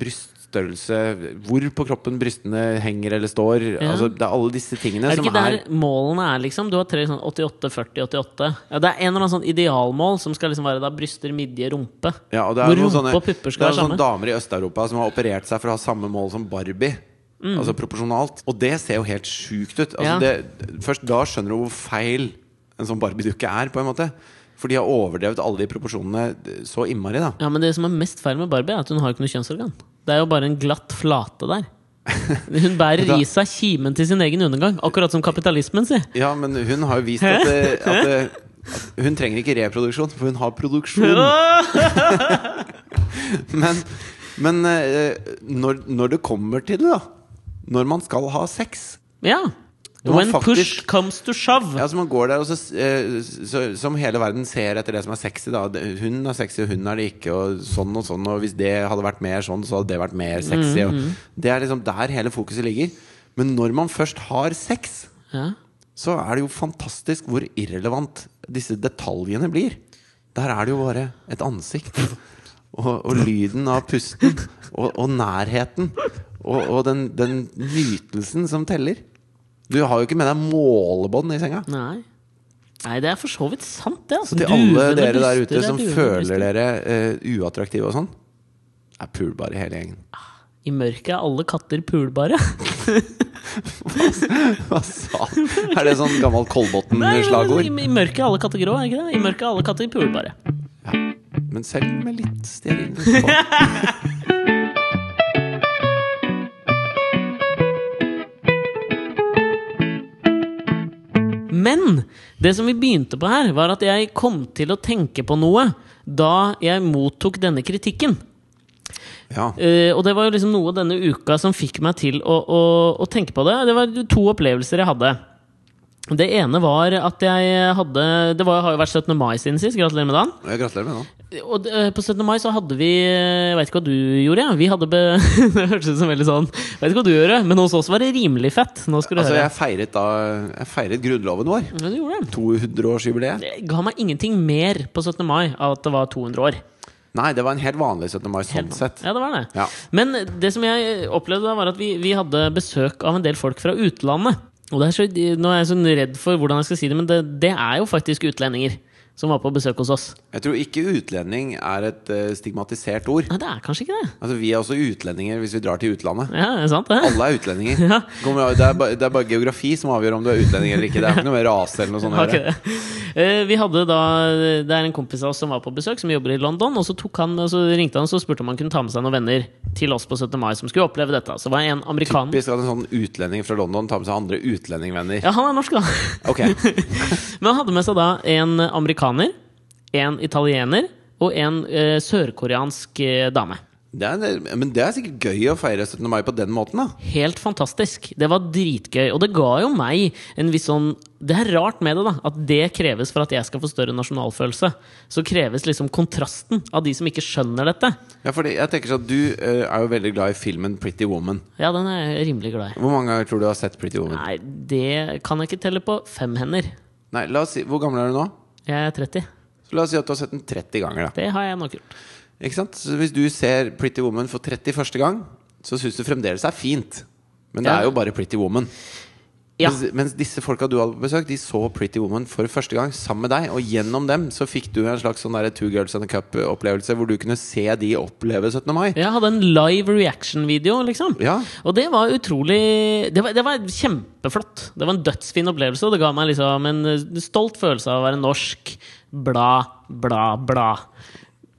bryststørrelse Hvor på kroppen brystene henger eller står.
Ja.
Altså, det er alle disse tingene
Er det
som
ikke der
er
målene er, liksom? Du har tre sånn 88, 40, 88. Ja, det er en eller annen sånn idealmål som skal liksom være da bryster, midje, rumpe.
ja, og det
Hvor
er noen
rumpe
sånne,
og pupper skal
det er
være
sånn sånne
sammen.
damer i Øst-Europa som har operert seg for å ha samme mål som Barbie. Altså proporsjonalt. Og det ser jo helt sjukt ut. Altså,
Mm. Ja.
det, først da skjønner du hvor feil en sånn Barbie-dukke er, på en måte. For de har overdrevet alle de proporsjonene eh, så innmari, da.
Ja, men det som er mest feil med Barbie, er at hun har ikke noe kjønnsorgan. Det er jo bare en glatt flate der. Hun bærer i seg kimen til sin egen undergang, akkurat som kapitalismen, si.
Ja, men hun har jo vist at, det- at, det- at hun trenger ikke reproduksjon, for hun har produksjon.
Åh!
Men, men eh, når, når det kommer til det, da Når man skal ha sex
Ja.
Du må
When push
faktisk-
comes to shove.
Ja, så man går der, og så, eh, så Som hele verden ser etter det som er sexy, da. Det- Hun er sexy, og hun er det ikke, og sånn og sånn. Og hvis det hadde vært mer sånn, så hadde det vært mer sexy. Og det er liksom der hele fokuset ligger. Men når man først har sex,
Ja.
så er det jo fantastisk hvor irrelevant disse detaljene blir. Der er det jo bare et ansikt. Og, og lyden av pusten. Og, og nærheten. Og, og den, den nytelsen som teller. Du har jo ikke med deg målebånd i senga.
Nei. Nei, det er for så vidt sant, det. Altså.
Så til alle
Duvende
dere der
bryster
ute
er
som
duvende
føler
bryster.
dere eh, uattraktive og sånn, er pulbare hele gjengen.
I mørket er alle katter pulbare.
Hva sa du? Er det sånn
Nei, men
gammelt
I,
Kolbotn-slagord?
I mørket er alle katter grå, er ikke det? I mørket er alle katter pulbare.
Ja. Men selv med litt stearin på.
Men det som vi begynte på her, var at jeg kom til å tenke på noe da jeg mottok denne kritikken.
Ja.
Eh, og det var jo liksom noe denne uka som fikk meg til å, å, å tenke på det. Det var to opplevelser jeg hadde. Det ene var at jeg hadde Det var, har jo vært 17. mai siden sist. Gratulerer med dagen.
Jeg gratulerer med det.
Og det- eh, på 17. mai så hadde vi eh, Jeg vet ikke hva du gjorde. ja. Vi hadde be, Det hørtes ut som veldig sånn Jeg vet ikke hva du gjorde, men hos oss var det rimelig fett. Nå skal du
Altså,
høre.
jeg feiret da Jeg feiret grunnloven vår.
Ja, du gjorde det.
200-årsjubileet.
Det ga meg ingenting mer på 17. mai av at det var 200 år.
Nei, det var en helt vanlig 17. mai sånn sett.
Ja, det var det.
Ja.
Men det som jeg opplevde da, var at vi, vi hadde besøk av en del folk fra utlandet. Og det er så, nå er jeg så redd for hvordan jeg skal si det, men det, det er jo faktisk utlendinger som var på besøk hos oss.
Jeg tror ikke utlending er et eh, stigmatisert ord.
Nei, det er kanskje ikke det.
Altså, vi er også utlendinger hvis vi drar til utlandet.
Ja, det er sant det?
Alle er utlendinger. Kommer, av- det, er bare, det er bare geografi som avgjør om du er utlending eller ikke. Det er ikke noe med rase eller noe sånt. å
Har
gjøre.
ikke det. Eh, Vi hadde da, det er en kompis av oss som var på besøk, som jobber i London. Og så, tok han, og så ringte han og så spurte om han kunne ta med seg noen venner til oss på 17. mai som skulle oppleve dette. Så var det en amerikaner
Typisk at en sånn utlending fra London tar med seg andre utlendingvenner.
Ja, han er norsk, da.
Ok,
Men han hadde med seg da en amerikaner, en italiener og en eh, sørkoreansk eh, dame.
det er, Men det er sikkert gøy å feire 17. mai på den måten, da.
Helt fantastisk. Det var dritgøy. Og det ga jo meg en viss sånn Det er rart med det, da. At det kreves for at jeg skal få større nasjonalfølelse. Så kreves liksom kontrasten av de som ikke skjønner dette.
Ja, fordi jeg tenker sånn at Du eh, er jo veldig glad i filmen Pretty Woman.
Ja, den er jeg rimelig glad i.
Hvor mange ganger tror du du har sett Pretty Woman?
Nei, det kan jeg ikke telle på fem hender.
Nei, la oss si, Hvor gammel er du nå?
Jeg er 30.
Så La oss si at du har sett den 30 ganger. da
Det har jeg nok gjort.
Ikke sant? Så Hvis du ser Pretty Woman for 31. gang, så syns du fremdeles det er fint. Men det
Ja.
er jo bare Pretty Woman.
Ja.
Mens, mens disse folka du hadde på besøk, de så Pretty Woman for første gang sammen med deg. Og gjennom dem så fikk du en slags sånn der Two Girls and a Cup-opplevelse, hvor du kunne se de oppleve 17. mai.
Jeg hadde en live reaction-video, liksom.
Ja.
Og det var utrolig det var, det var kjempeflott. Det var en dødsfin opplevelse, og det ga meg liksom en eh, stolt følelse av å være norsk. Bla, bla, bla.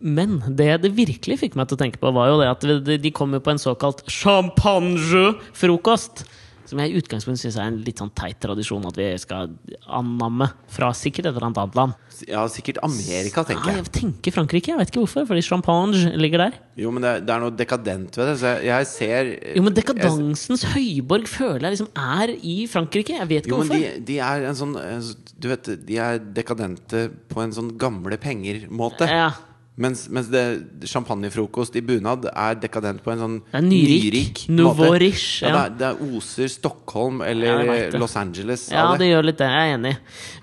Men det det virkelig fikk meg til å tenke på, var jo det at de- de kom jo på en såkalt champagne-frokost. Som jeg i utgangspunktet syns er en litt sånn teit tradisjon at vi skal annamme fra sikkert et eller annet annet land.
Ja, sikkert Amerika, tenker
Nei,
jeg.
jeg tenker Frankrike, jeg vet ikke hvorfor, fordi champagne ligger der.
Jo, men det, er- det er noe dekadent ved det. Så jeg, jeg ser
Jo, men dekadansens høyborg føler jeg liksom er i Frankrike. Jeg vet ikke
Jo, men
hvorfor.
de, de er en sånn eh, Du vet, de er dekadente på en sånn gamle penger-måte.
Ja.
Mens, mens det champagnefrokost i bunad er dekadent på en sånn
Det er nyrik, nouveau riche,
Ja.
ja.
det, er, det er oser Stockholm
Ja,
eller
jeg vet det.
Los Angeles.
Ja,
av
det
det.
gjør litt det. Jeg er enig.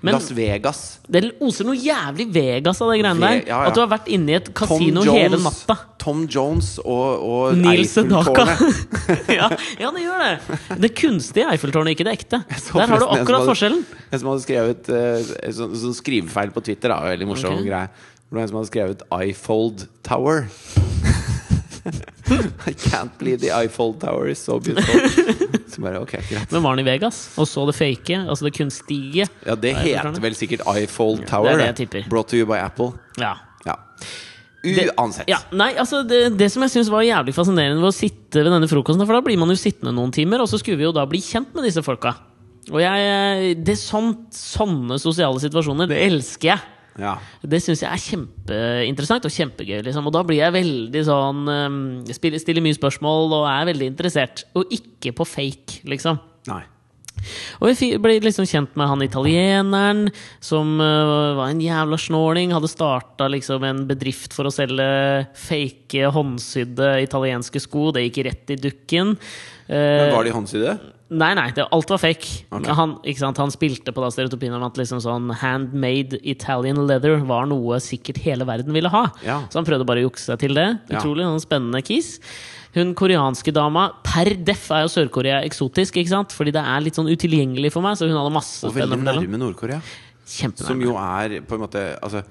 Men
Las Vegas.
det oser noe jævlig Vegas av det greiene der.
Ve- ja, ja.
At du har vært inne i et kasino hele natta.
Tom Jones og, og
Nils Sedaka.
Eiffeltårnet.
ja, ja, det gjør det. Det kunstige Eiffeltårnet, ikke det ekte.
Så
Der har du
forresten en som
akkurat
hadde-
forskjellen.
En som hadde skrevet eh, en sånn, sånn skrivefeil på Twitter, da. Veldig morsom
Ok.
greie. Det var en som hadde skrevet iFold Tower. I can't believe the iFold Tower is so beautiful. Så bare, ok, greit
Men var han i Vegas og så det fake, altså det kunstige?
Ja, det heter vel sikkert iFold Tower.
det er det jeg tipper.
Brought to you by Apple.
Ja.
Ja. Uansett.
Ja, nei, altså det, det som jeg syns var jævlig fascinerende ved å sitte ved denne frokosten, for da blir man jo sittende noen timer, og så skulle vi jo da bli kjent med disse folka. Og jeg, det er sånt, Sånne sosiale situasjoner, det elsker jeg.
Ja.
Det syns jeg er kjempeinteressant og kjempegøy. Liksom. Og da blir jeg veldig sånn ehm, spiller- Stiller mye spørsmål og er veldig interessert. Og ikke på fake, liksom.
Nei.
Og vi fi- ble liksom kjent med han italieneren som eh, var en jævla snåling. Hadde starta liksom en bedrift for å selge fake, håndsydde italienske sko. Det gikk rett i dukken. Eh,
Men var de håndsydde?
Nei, nei, det, alt var fake.
Ok.
Han, ikke sant, han spilte på da stereotypien om at liksom sånn handmade Italian leather var noe sikkert hele verden ville ha.
Ja.
Så han prøvde bare å jukse seg til det.
Ja.
Utrolig sånn spennende kis. Hun koreanske dama Per deff er jo Sør-Korea eksotisk, ikke sant? fordi det er litt sånn utilgjengelig for meg. Så hun hadde masse
Og veldig
spennende fordeler.
nærme Nord-Korea. Som
Kjempenærme.
jo er på en måte Altså,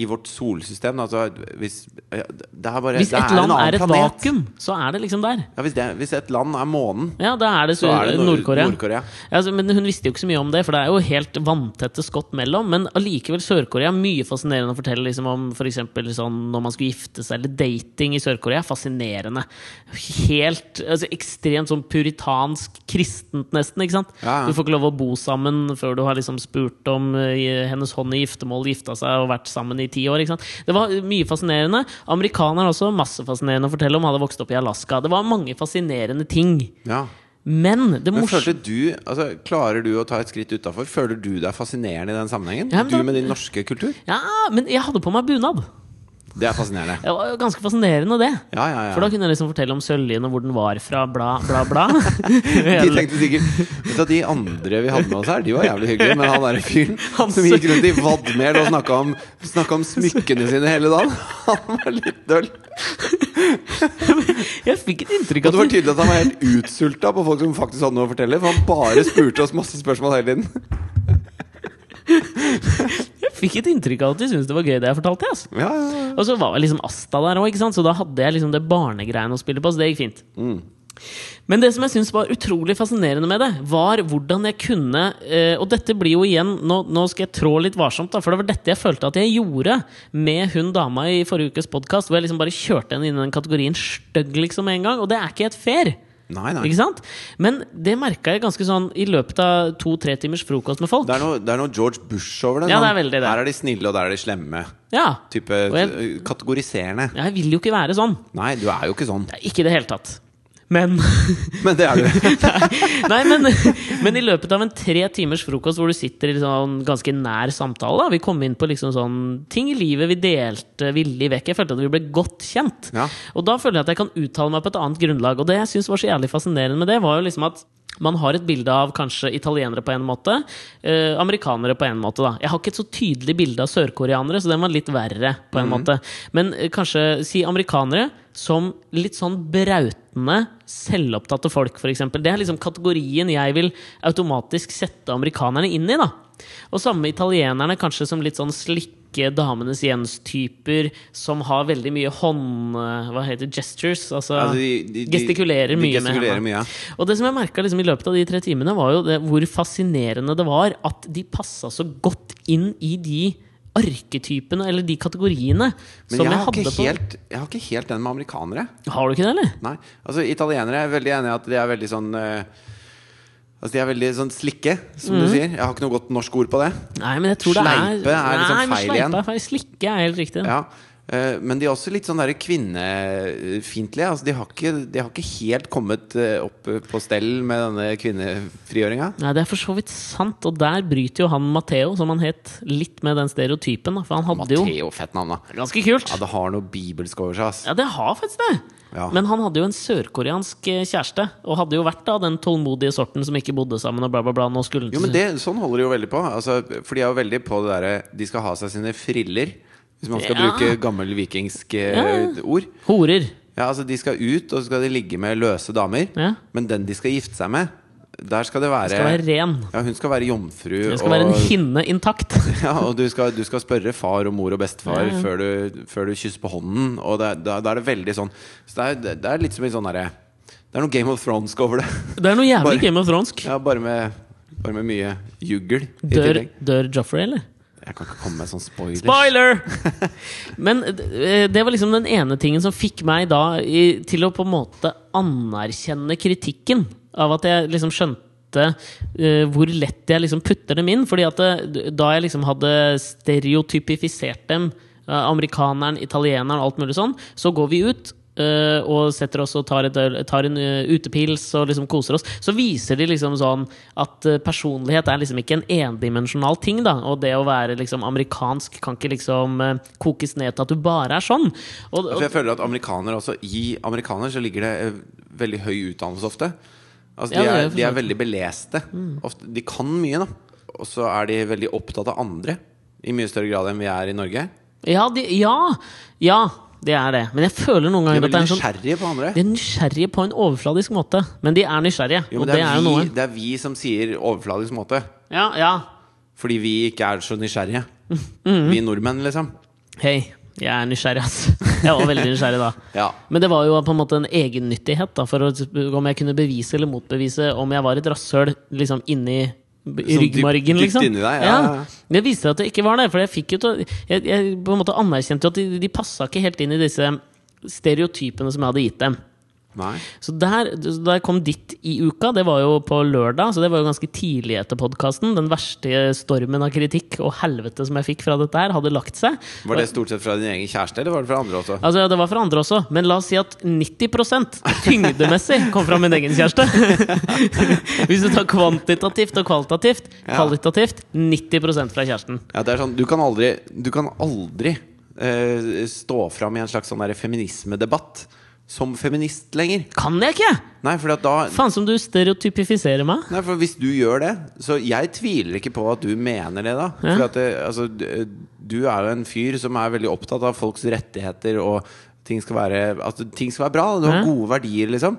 i vårt solsystem, da, altså hvis ja, Det er bare
Hvis
det
et
en
land
annen
er et
planet.
vakuum, så er det liksom der.
Ja, hvis, det, hvis et land er månen,
Ja, da er det,
så er det Nord-
Nord-Korea.
Nord-Korea.
Ja, Altså, men hun visste jo ikke så mye om det, for det er jo helt vanntette skott mellom. Men allikevel Sør-Korea. Mye fascinerende å fortelle liksom, om f.eks. Sånn, når man skulle gifte seg, eller dating i Sør-Korea. Fascinerende. Helt altså, Ekstremt sånn puritansk, kristent nesten. ikke sant?
Ja, ja.
Du får ikke lov å bo sammen før du har liksom spurt om eh, hennes hånd i giftermål, gifta seg og vært sammen i ti år. ikke sant? Det var mye fascinerende. Amerikanere også, masse fascinerende å fortelle om. Hadde vokst opp i Alaska. Det var mange fascinerende ting.
ja.
Men det
Men
morsomme
følte du, altså, Klarer du å ta et skritt utafor? Føler du deg fascinerende i den sammenhengen?
Ja, men
du
da-
med din norske kultur?
Ja, men jeg hadde på meg bunad.
Det er fascinerende.
Det var jo ganske fascinerende, det.
Ja, ja, ja.
For da kunne jeg liksom fortelle om søljen og hvor den var fra, bla, bla, bla.
De tenkte sikkert Vet du at De andre vi hadde med oss her, de var jævlig hyggelige, men han derre fyren som gikk rundt i vadmel og snakka om, snakket om smykkene sine hele dagen, han var litt døll.
Jeg fikk et inntrykk
Og
av
det var
at
tydelig at han var helt utsulta på folk som faktisk hadde noe å fortelle, for han bare spurte oss masse spørsmål hele tiden.
jeg fikk et inntrykk av at de syntes det var gøy, det jeg fortalte. ass.
Ja, ja, ja.
Og så var vel liksom Asta der òg, så da hadde jeg liksom det barnegreiene å spille på. Så det gikk fint.
Mm.
Men det som jeg syns var utrolig fascinerende med det, var hvordan jeg kunne eh, Og dette blir jo igjen Nå, nå skal jeg trå litt varsomt, da, for det var dette jeg følte at jeg gjorde med hun dama i forrige ukes podkast, hvor jeg liksom bare kjørte henne inn i den kategorien stygg liksom med en gang. Og det er ikke helt fair.
Nei, nei.
Ikke sant? Men det merka jeg ganske sånn i løpet av to-tre timers frokost med folk.
Det er, noe, det er noe George Bush over det.
Ja,
sånn,
det er veldig det.
Her er de snille, og der er de slemme.
Ja.
Type
Og jeg-
eh, kategoriserende.
Jeg vil jo ikke være sånn.
Nei, du er jo ikke sånn.
Ikke i det hele tatt. Men
Men det er du.
Nei, men, men i løpet av en tre timers frokost hvor du sitter i sånn ganske nær samtale da. Vi kom inn på liksom sånn ting i livet vi delte villig vekk. Jeg følte at vi ble godt kjent.
Ja.
Og da føler jeg at jeg kan uttale meg på et annet grunnlag. Og det jeg syns var så jævlig fascinerende med det, var jo liksom at man har et bilde av kanskje italienere på en måte, eh, amerikanere på en måte. da. Jeg har ikke et så tydelig bilde av sørkoreanere, så den var litt verre. på en måte. Men eh, kanskje si amerikanere som litt sånn brautende, selvopptatte folk, f.eks. Det er liksom kategorien jeg vil automatisk sette amerikanerne inn i. da. Og samme med italienerne, kanskje som litt sånn slikke damenes Jens-typer, som har veldig mye hånd... eh, Hva heter det? Gestures? Altså,
Altså, de- de- de-
gestikulerer
de
mye
gestikulerer
med
mye, ja.
hendene. Og det som jeg merka liksom, i løpet av de tre timene, var jo det, hvor fascinerende det var at de passa så godt inn i de arketypene, eller de kategoriene,
Men
som
jeg
jeg,
har,
hadde
ikke
på
helt, jeg har ikke helt den med amerikanere.
Har du ikke det, eller?
Nei, altså Italienere er veldig enig i at de er veldig sånn eh, Altså De er veldig sånn slikke, som
Mhm.
du sier. Jeg har ikke noe godt norsk ord på det.
Nei, men jeg tror det er
Sleipe er liksom
Nei, men
feil
sleipe
igjen.
er feil. Slikke er helt riktig.
Ja eh, men de er også litt sånn der kvinnefiendtlige. Altså de, har ikke- de har ikke helt kommet eh, opp eh, på stell med denne kvinnefrigjøringa.
Nei, det er for så vidt sant, og der bryter jo han Matteo, som han het, litt med den stereotypen. Da, for han hadde jo
Matteo, fett navn, da.
Ganske kult.
Ja, det har noe bibelsk over seg. ass.
Ja, det har faktisk det.
Ja.
Men han hadde jo en sørkoreansk eh, kjæreste, og hadde jo vært av den tålmodige sorten som ikke bodde sammen og bla, bla, bla. Nå skulle han
Jo, men det, Sånn holder de jo veldig på. Altså, for de er jo veldig på det derre De skal ha seg sine friller, hvis man skal
Ja.
bruke gammel vikingsk eh, ord.
Horer.
Ja, altså De skal ut, og så skal de ligge med løse damer.
Ja.
Men den de skal gifte seg med, der skal det være,
Skal være ren.
Ja, Hun skal være jomfru.
Det skal være en hinne intakt.
ja, og du skal, du skal spørre far og mor og bestefar
Ja, ja.
Før, du, før du kysser på hånden. Og det, er- da, da er det veldig sånn Så det er, det er litt som en sånn derre Det er noe Game of Thrones over det.
Det er noe jævlig
Bare-
Game of Thrones.
Ja, bare med, bare med mye juggel. i
Dør,
tillegg.
dør Joffrey, eller?
Jeg kan ikke komme med sånn spoiler.
Spoiler! Men eh, det var liksom den ene tingen som fikk meg da i, til å på en måte anerkjenne kritikken av at jeg liksom skjønte eh, hvor lett jeg liksom putter dem inn. Fordi at det, da jeg liksom hadde stereotypifisert dem, eh, amerikaneren, italieneren og alt mulig sånn, så går vi ut. eh, og setter oss og tar, et, øl- tar en eh, utepils og liksom koser oss, så viser de liksom sånn at eh, personlighet er liksom ikke en endimensjonal ting, da. Og det å være liksom amerikansk kan ikke liksom eh, kokes ned til at du bare er sånn. Og,
Altså,
og,
jeg føler at amerikanere også I amerikaner så ligger det eh, veldig høy utdannelse ofte. Altså,
Ja,
de,
det er
er,
jo for
de er
sant. Mm.
veldig beleste. Ofte, de kan mye, da. Og så er de veldig opptatt av andre. I mye større grad enn vi er i Norge.
ja, de, ja! Ja, det er det. Men jeg føler noen
De er
ganger at
veldig
det er en sånn
nysgjerrige på andre.
de er nysgjerrige på en overfladisk måte, men de er nysgjerrige.
Jo,
og
men
det er jo noe.
vi, det er vi som sier overfladisk måte.
Ja, ja.
Fordi vi ikke er så nysgjerrige.
Mm.
Vi nordmenn, liksom.
Hei, jeg er nysgjerrig, ass. Jeg var veldig nysgjerrig da.
Ja.
Men det var jo på en måte en egennyttighet, da, for å, om jeg kunne bevise eller motbevise om jeg var et rasshøl liksom inni i
Sånn dypt-
ryggmargen,
dypt
liksom.
inni deg, ja, ja, ja.
Det viste seg at det ikke var det. For jeg fikk jo til å- Jeg, jeg på en måte anerkjente jo at de, de passa ikke helt inn i disse stereotypene som jeg hadde gitt dem.
Nei.
Så der, så da jeg kom dit i uka, det var jo på lørdag, så det var jo ganske tidlig etter podkasten. Den verste stormen av kritikk og helvete som jeg fikk fra dette her, hadde lagt seg.
Var det stort sett fra din egen kjæreste, eller var det fra andre også?
Altså, ja, Det var fra andre også, men la oss si at 90 tyngdemessig kom fra min egen kjæreste. Hvis du tar kvantitativt og kvalitativt,
Ja.
kvalitativt 90 fra kjæresten.
Ja, det er sånn, du kan aldri, du kan aldri eh, stå fram i en slags sånn der feminismedebatt som feminist lenger.
Kan jeg ikke!
Nei, for, at da,
Faen som du stereotypifiserer meg.
nei, for hvis du gjør det Så jeg tviler ikke på at du mener det, da.
Ja.
For at det, altså, d- du er jo en fyr som er veldig opptatt av folks rettigheter og ting skal være, at ting skal være bra. Du har
Ja.
gode verdier, liksom.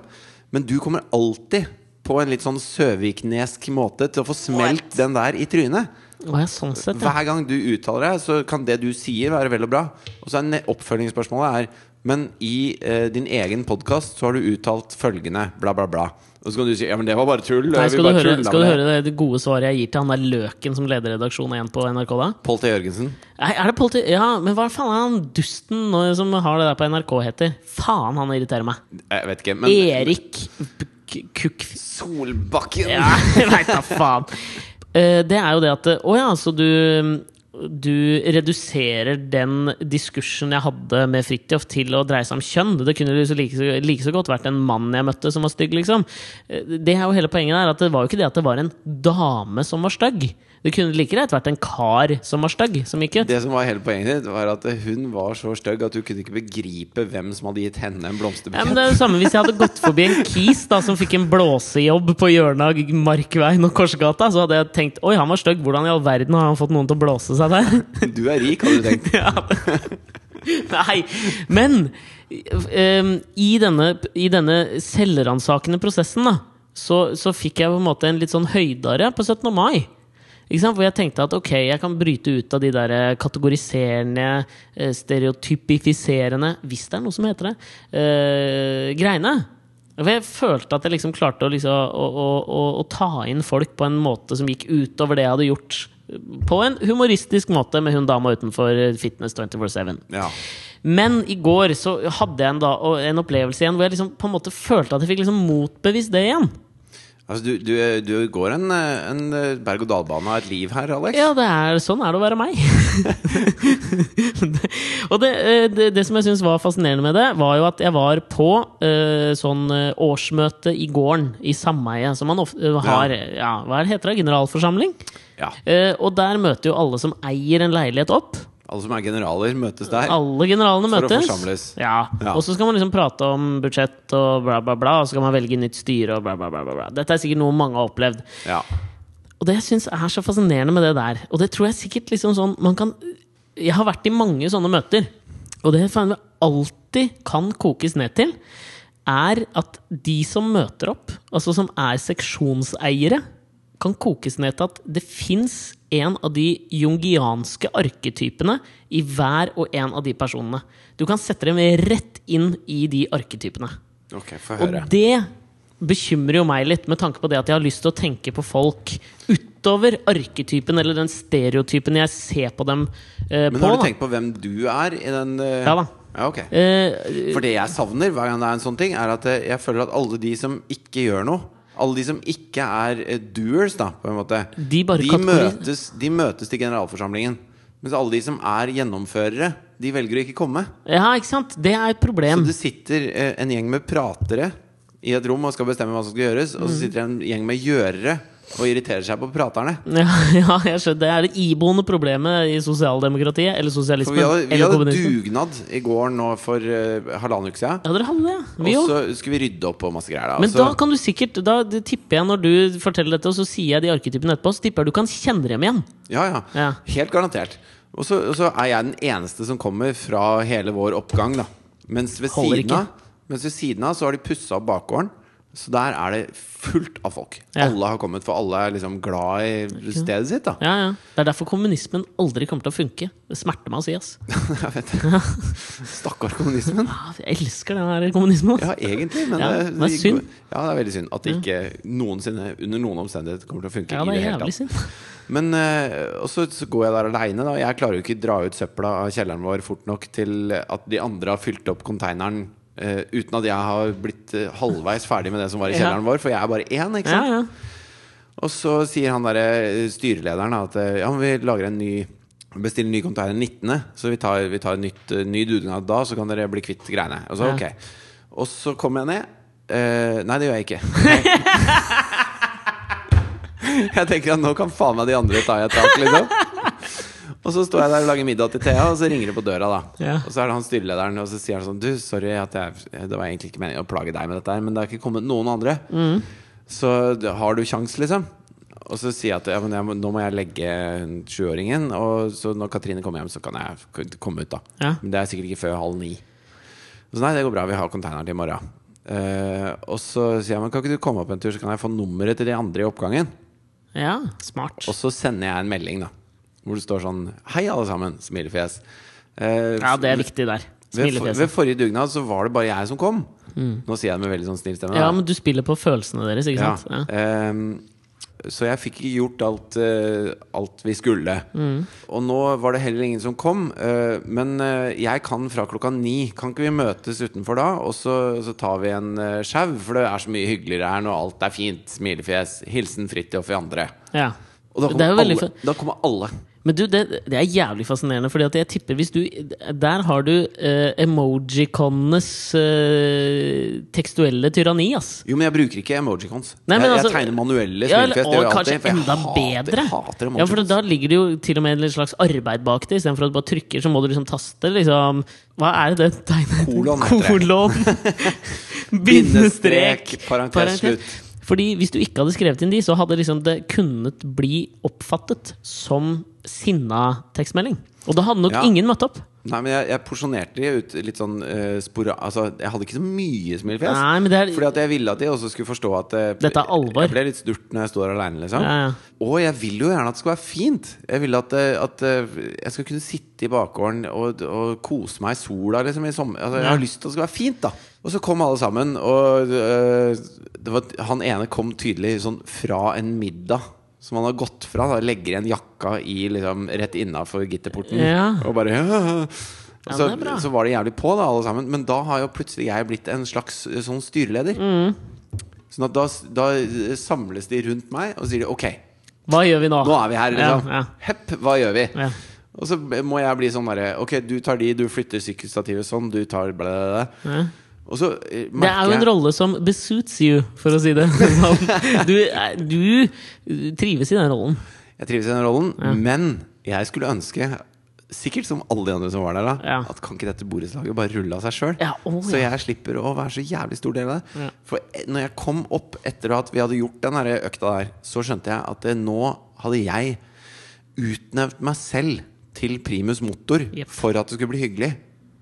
Men du kommer alltid på en litt sånn søviknesk måte til å få smelt den der i trynet.
Å, ja, sånn sett, ja.
Hver gang du uttaler deg, så kan det du sier være vel og bra. Og så er ne- oppfølgingsspørsmålet er Men i eh, din egen podkast så har du uttalt følgende, bla, bla, bla. Og så kan du si Ja, men det var bare tull.
Nei,
vi
skal,
bare
du høre,
tullet
skal du
med det.»
høre det, det gode svaret jeg gir til han der Løken som leder redaksjonen igjen på NRK? da?
Pål T. Jørgensen.
Nei, er det politi... Ja, men hva faen er han dusten nå som har det der på NRK heter? Faen, han irriterer meg.
Jeg vet ikke, men
Erik K- Kuk...
Solbakken!
Ja, jeg veit da faen. Eh, Det er jo det at eh, Å ja, så du du reduserer den diskursen jeg hadde med Fridtjof til å dreie seg om kjønn. Det kunne jo så like, så- like så godt vært en mann jeg møtte som var stygg, liksom. Eh, Det er jo hele poenget der, at det var jo ikke det at det var en dame som var stygg. Det kunne like greit vært en kar som var stygg, som gikk ut.
Det som var hele poenget ditt, var at hun var så stygg at du kunne ikke begripe hvem som hadde gitt henne en
Ja, men
blomsterbukett.
det er det samme hvis jeg hadde gått forbi en kis da som fikk en blåsejobb på hjørnet av Markveien og Korsgata, så hadde jeg tenkt oi, han var stygg, hvordan i all verden har han fått noen til å blåse seg der?
Du er rik, hadde du tenkt.
Ja. Nei, men ehm, i denne, i denne selvransakende prosessen da, så, så fikk jeg på en måte en litt sånn høydare på 17. mai. Ikke sant? Hvor jeg tenkte at ok, jeg kan bryte ut av de der eh, kategoriserende, eh, stereotypifiserende, hvis det er noe som heter det, eh, greiene. For jeg følte at jeg liksom klarte å, liksom, å, å, å, å ta inn folk på en måte som gikk utover det jeg hadde gjort. eh, På en humoristisk måte med hun dama utenfor eh, Fitness 24-7.
Ja.
Men i går så hadde jeg en, da, og en opplevelse igjen hvor jeg liksom på en måte følte at jeg fikk liksom motbevist det igjen.
Altså, du, du, du går en, eh, en berg-og-dal-bane av et liv her, Alex.
Ja, det er, sånn er det å være meg. Det- og det, eh, det, det som jeg syns var fascinerende med det, var jo at jeg var på eh, sånn eh, årsmøte i gården, i sameiet, som man ofte eh, har ja. hva er det heter det? Generalforsamling?
ja.
Eh, og der møter jo alle som eier en leilighet, opp.
Alle som er generaler, møtes der.
Alle generalene
For å
møtes.
forsamles.
Ja.
Ja.
Og så skal man liksom prate om budsjett og bla, bla, bla, og så skal man velge nytt styre og bla, bla, bla. bla, bla. Dette er sikkert noe mange har opplevd.
Ja.
Og det jeg syns er så fascinerende med det der, og det tror jeg sikkert liksom sånn man kan, Jeg har vært i mange sånne møter, og det jeg faen meg alltid kan kokes ned til, er at de som møter opp, altså som er seksjonseiere, kan kokes ned til at det fins en av de jungianske arketypene i hver og en av de personene. Du kan sette dem rett inn i de arketypene.
Ok, få
Og
høre.
det bekymrer jo meg litt, med tanke på det at jeg har lyst til å tenke på folk utover arketypen eller den stereotypen jeg ser på dem eh,
Men
på.
har du
da.
tenkt på hvem du er i den eh,
Ja da.
Ja, ok.
Eh,
For det jeg savner hver gang det er en sånn ting, er at eh, jeg føler at alle de som ikke gjør noe, alle de som ikke er eh, doers, da, på en måte,
De bare kategori-
møtes, de møtes til generalforsamlingen. Mens alle de som er gjennomførere, de velger å ikke komme.
Ja, ikke sant? Det er et
Så
problem.
det sitter eh, en gjeng med pratere i et rom og skal bestemme hva som skal gjøres,
Mm.
og så sitter det en gjeng med gjørere og irriterer seg på praterne.
Ja, ja, jeg skjønner. Det er det iboende problemet i sosialdemokratiet, eller
For
sosialismen,
vi hadde, vi
eller
hadde
kommunismen.
dugnad i går nå for eh, halvannen uke siden.
Ja, dere hadde det. ja. Vi
Og
òg.
så skulle vi rydde opp og masse greier. Da.
Men
og
da
så-
kan du sikkert Da det tipper jeg når du forteller dette, og så sier jeg de arketypene etterpå, så tipper jeg du kan kjenne dem igjen.
Ja, ja.
Ja.
Helt garantert. Og så, og så er jeg den eneste som kommer fra hele vår oppgang, da. Mens ved,
Holder
siden av, mens ved siden av så har de pussa opp bakgården. Så der er det fullt av folk.
Ja.
Alle har kommet, for alle er liksom glad i stedet sitt, da.
Ja, ja. Det er derfor kommunismen aldri kommer til å funke. Det smerter meg å si, ass.
Jeg vet det. Stakkar kommunismen.
Ah, Jeg elsker den her kommunismen, ass.
Ja, egentlig, men
Ja,
det,
det er synd. Mm.
Ja, det er veldig synd at det ikke noensinne, under noen omstendighet kommer til å funke.
Ja, det
i det
er
hele
jævlig
tatt.
synd.
Men eh, Og så, så går jeg der aleine, da. Jeg klarer jo ikke dra ut søpla av kjelleren vår fort nok til at de andre har fylt opp konteineren eh, uten at jeg har blitt eh, halvveis ferdig med det som var i
Ja.
kjelleren vår, for jeg er bare én, ikke
Ja,
sant?
ja.
Og så sier han derre eh, styrelederen da, at eh, ja, men vi lager en ny Bestiller ny container 19., så vi tar, vi tar nytt, eh, ny dugnad da, så kan dere bli kvitt greiene. Og så
Ja.
ok. Og så kommer jeg ned. Eh, nei, det gjør jeg ikke. jeg tenker at nå kan faen meg de andre ta i et tak, liksom. Og så står jeg der og lager middag til Thea, og så ringer det på døra, da.
Ja.
Og så er det han styrelederen, og så sier han sånn Du, sorry at jeg Det var egentlig ikke meningen å plage deg med dette her, men det har ikke kommet noen andre.
Mm.
Så d- har du sjans, liksom? Og så sier jeg at ja, men jeg, må- nå må jeg legge hun sjuåringen, og så når Katrine kommer hjem, så kan jeg k- komme ut, da.
Ja.
Men det er sikkert ikke før halv ni. Så nei, det går bra, vi har containeren til i morgen. Eh, og så sier jeg men kan ikke du komme opp en tur, så kan jeg få nummeret til de andre i oppgangen.
ja smart.
Og så sender jeg en melding, da. Hvor det står sånn Hei, alle sammen. Smilefjes. Eh,
Ja, det er viktig der.
ved, for- ved
Smilefjeset. Mm.
forrige dugnad så var det bare jeg som kom. Nå sier jeg det med veldig sånn snill stemme. da.
Ja, men du spiller på følelsene deres, ikke sant? Ja.
Ehm, så jeg fikk ikke gjort alt, eh, alt vi skulle.
Mm.
Og nå var det heller ingen som kom. eh, men eh, jeg kan fra klokka ni. Kan ikke vi møtes utenfor da? Og så, så tar vi en uh, sjau, for det er så mye hyggeligere her når alt er fint. Smilefjes. Hilsen Fridtjof i andre.
Ja.
Og da
Det er jo
kommer,
veldig
alle, da kommer alle.
Men du, det, det er jævlig fascinerende, fordi at jeg tipper hvis du Der har du eh, emojikonenes eh, tekstuelle tyranni, ass.
Jo, men jeg bruker ikke emojicons.
Nei, men
jeg,
altså-
jeg tegner manuelle
Ja, eller-
smilefjes. det gjør
og
jeg
kanskje
alltid, for jeg
enda
hater,
bedre.
hater
Ja, for
emojicons.
da ligger det jo til og med et slags arbeid bak det. Istedenfor at du bare trykker, så må du liksom taste. liksom Hva er det det tegnet
Kolon heter det.
Bindestrek.
parentes, slutt.
Fordi hvis du ikke hadde skrevet inn de, så hadde liksom det kunnet bli oppfattet som sinna tekstmelding. Og da hadde nok
Ja.
ingen møtt opp.
Nei, men jeg, jeg porsjonerte de ut litt sånn eh, spora... Altså, jeg hadde ikke så mye smilefjes.
Nei, men det er
Fordi at jeg ville at de også skulle forstå at eh,
Dette er alvor.
Jeg ble litt sturt når jeg står alene, liksom.
Ja, ja.
Og jeg vil jo gjerne at det skal være fint. Jeg vil at, eh, at eh, jeg skal kunne sitte i bakgården og, og kose meg i sola, liksom. I sommer. Altså, jeg
Ja.
har lyst til at det skal være fint, da. Og så kom alle sammen, og eh, det var, han ene kom tydelig sånn fra en middag. Som han har gått fra. Da. Legger igjen jakka i, liksom, rett innafor gitterporten.
Ja.
Og bare
Ja,
så,
det er bra.
så var de jævlig på, da, alle sammen. Men da har jo plutselig jeg blitt en slags eh, sånn styreleder.
Mm.
Sånn at da, da eh, samles de rundt meg og sier de, OK,
Hva gjør vi nå?
nå er vi her, liksom.
Ja,
Hepp, hva gjør vi?
ja, ja.
Og så må jeg bli sånn derre OK, du tar de, du flytter sykkelstativet sånn, du tar bla, bla, bla.
Ja.
Og så eh,
Det er jo en
merker jeg
rolle som besuits you, for å si det sånn. Du, er- du trives i den rollen.
Jeg trives i den rollen, men jeg skulle ønske, sikkert som alle de andre som var der, da,
Ja.
at kan ikke dette borettslaget bare rulle av seg sjøl?
Ja, å,
Så
ja.
jeg slipper å være så jævlig stor del av det.
Ja.
For eh, når jeg kom opp etter at vi hadde gjort den her økta der, så skjønte jeg at eh, nå hadde jeg utnevnt meg selv til primus motor
Jep.
for at det skulle bli hyggelig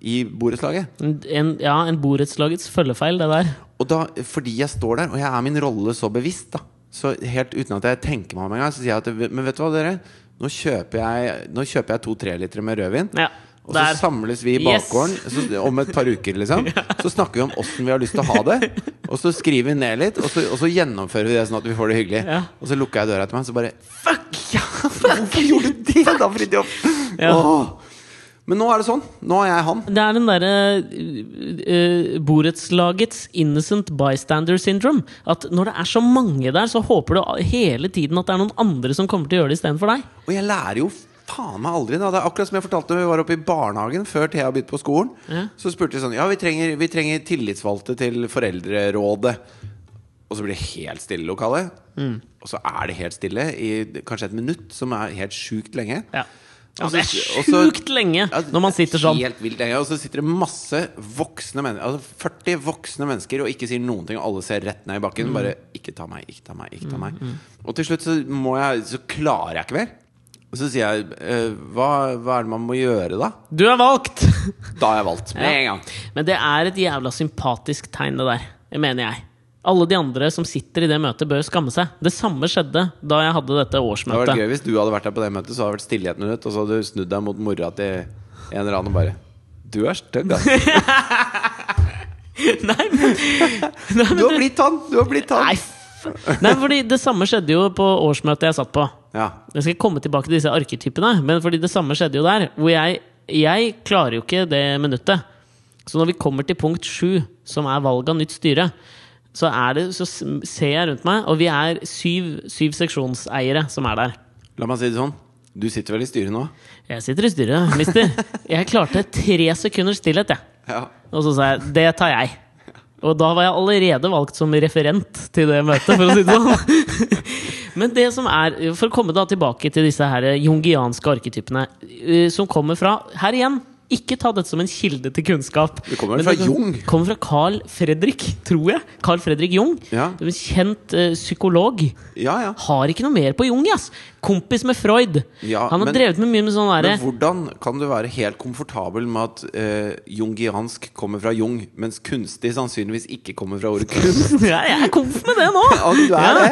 i borettslaget.
En- En, ja, en borettslagets følgefeil, det der.
Og da, fordi jeg står der, og jeg er min rolle så bevisst, da Så helt uten at jeg tenker meg om engang, så sier jeg at Men vet du hva, dere? Nå kjøper jeg, nå kjøper jeg to trelitere med rødvin.
Ja,
Og så
der.
samles vi i
Yes.
bakgården så, om et par uker, liksom. Så snakker vi om åssen vi har lyst til å ha det. Og så skriver vi ned litt, og så, og så gjennomfører vi det sånn at vi får det hyggelig.
Ja.
Og så lukker jeg døra etter meg, så bare Fuck! Ja, hvorfor gjorde du det, da, Fridtjof?
Ja.
Åh. Men nå er det sånn. Nå er jeg han.
Det er den derre eh, eh, borettslagets innocent bystander syndrome. At når det er så mange der, så håper du hele tiden at det er noen andre som kommer til å gjøre det istedenfor deg.
Og jeg lærer jo faen meg aldri. Da. Det er akkurat som jeg fortalte da vi var oppe i barnehagen før Thea begynte på skolen.
Ja.
Så spurte de sånn Ja, vi trenger, vi trenger tillitsvalgte til foreldrerådet. Og så blir det helt stille i lokalet.
Mm.
Og så er det helt stille i kanskje et minutt, som er helt sjukt lenge.
Ja. Ja,
Og
det
så-
er
og så-
sjukt lenge
Altså, Ja,
når man sitter sånn.
Altså, Helt vilt lenge. Og så sitter det masse voksne mennesker Altså 40 voksne mennesker og ikke sier noen ting, og alle ser rett ned i bakken.
Mm.
Bare 'ikke ta meg, ikke ta meg, ikke ta meg'. Og til slutt så, må jeg, så klarer jeg ikke mer. Og så sier jeg eh, hva, 'hva er det man må gjøre da?'
Du er valgt!
Da har jeg valgt med en gang.
Men det er et jævla sympatisk tegn, det der. Det mener jeg. Alle de andre som sitter i det møtet, bør skamme seg. Det samme skjedde da jeg hadde dette
Det hadde vært
årsmøtet.
gøy hvis du hadde vært der på det møtet, så hadde det vært stille i et minutt, og så hadde du snudd deg mot mora til en eller annen og bare 'Du er stygg, ass.
Nei, men, nei, men
Du har blitt han! Du har blitt
Nei,
han!'
f- nei, fordi det samme skjedde jo på årsmøtet jeg satt på.
Ja.
Jeg skal komme tilbake til disse arketypene, men fordi det samme skjedde jo der. Hvor jeg, jeg klarer jo ikke det minuttet. Så når vi kommer til punkt sju, som er valg av nytt styre, så, er det, så s- ser jeg rundt meg, og vi er syv, syv seksjonseiere som er der.
La meg si det sånn. Du sitter vel i styret nå?
Jeg sitter i styret, mister. Jeg klarte tre sekunders stillhet, jeg.
Ja.
Og så sa jeg 'det tar jeg'. Og da var jeg allerede valgt som referent til det møtet, for å si det sånn. Men det som er, for å komme da tilbake til disse her jungianske arketypene, eh, som kommer fra Her igjen, ikke ta dette som en kilde til kunnskap.
Det kommer
Men
fra Jung.
kommer fra Carl Fredrik, tror jeg. Carl Fredrik Jung.
Ja.
En kjent eh, psykolog.
Ja, ja.
Har ikke noe mer på Jung, ass! Kompis med Freud.
Ja,
Han har
men-
drevet med mye med sånn derre
Men hvordan kan du være helt komfortabel med at eh, jungiansk kommer fra jung, mens kunstig sannsynligvis ikke kommer fra ordet kunst?
ja, jeg er komf med det nå!
Ja, du er det.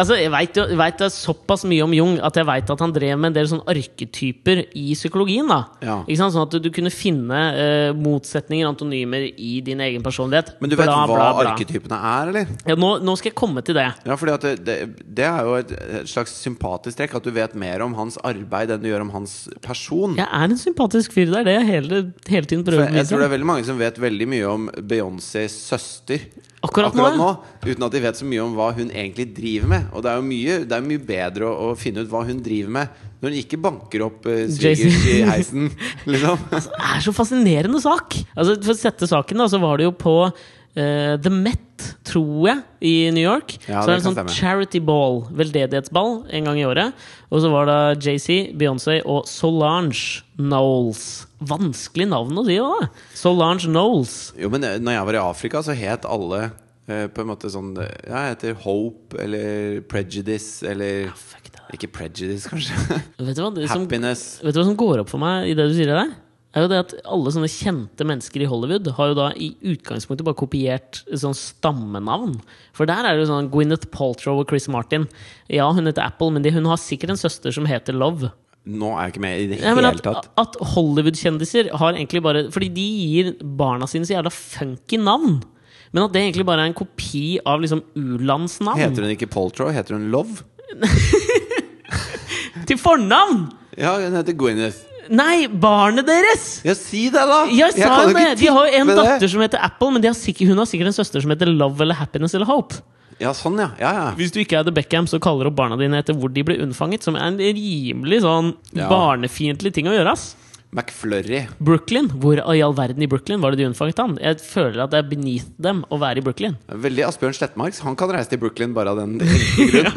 Altså, jeg veit jo vet jeg såpass mye om Jung at jeg veit at han drev med en del sånne arketyper i psykologien. da
Ja.
Ikke sant? Sånn at du, du kunne finne eh, motsetninger, antonymer, i din egen personlighet.
Men du vet hva arketypene er, eller?
Ja, nå, nå skal jeg komme til det.
Ja, fordi at det, det, det er jo et, et slags sympatisk trekk at du vet mer om hans arbeid enn du gjør om hans person.
Jeg er en sympatisk fyr. Det er det jeg hele, hele tiden
For
prøver
jeg,
å
jeg tror
vise.
det er veldig mange som vet veldig mye om Beyoncés søster
Akkurat nå,
nå, uten at de vet så mye om hva hun egentlig driver med. Og det er jo mye, det er mye bedre å, å finne ut hva hun driver med, når hun ikke banker opp uh,
Jay-Z.
svigers i heisen, liksom.
Altså, Det er så fascinerende sak! Altså, for å sette saken, da, så var det jo på eh, The Met, tror jeg, i New York. så det
Ja,
er
det
en sånn
kan stemme.
charity ball, veldedighetsball, en gang i året. Og så var det JC, Beyoncé og Solange Knowles. Vanskelig navn å si, da! Solange Knowles.
Jo, men eh, når jeg var i Afrika, så het alle eh, på en måte sånn eh, Ja, jeg heter Hope eller Prejudice eller
Fuck det.
Ikke Prejudice, kanskje.
Vet du hva det som, vet
Happiness.
du hva som går opp for meg i det du sier der? Er jo det at Alle sånne kjente mennesker i Hollywood har jo da i utgangspunktet bare kopiert sånn stammenavn. For der er det jo sånn Gwyneth Paltrow og Chris Martin. Ja, hun heter Apple, men de, hun har sikkert en søster som heter Love.
Nå er jeg ikke med i det
Ja, men
hele
at
tatt.
at Hollywood-kjendiser har egentlig bare Fordi de gir barna sine så jævla funky navn. Men at det egentlig bare er en kopi av liksom u-landsnavn.
Heter hun ikke Poltrow? Heter hun Love?
Til fornavn!
Ja, hun heter Gwyneth.
Nei, barnet deres!
Ja, si det, da!
Jeg sa
kan jo
det!
ikke
De har jo en
tippe det.
datter som heter Apple, men de har sikkert, hun har sikkert en søster som heter Love eller Happiness eller Hope.
Ja, sånn, ja. ja, ja.
Hvis du ikke er The Beckham, så kaller du opp barna dine etter hvor de ble unnfanget, som er en rimelig sånn
Ja.
barnefiendtlig ting å gjøre, ass.
McFlurry.
Brooklyn. Hvor i all verden i Brooklyn var det de unnfanget han? Jeg føler at det er beneath dem å være i Brooklyn.
Veldig Asbjørn Slettmarks. Han kan reise til Brooklyn bare av den grunn.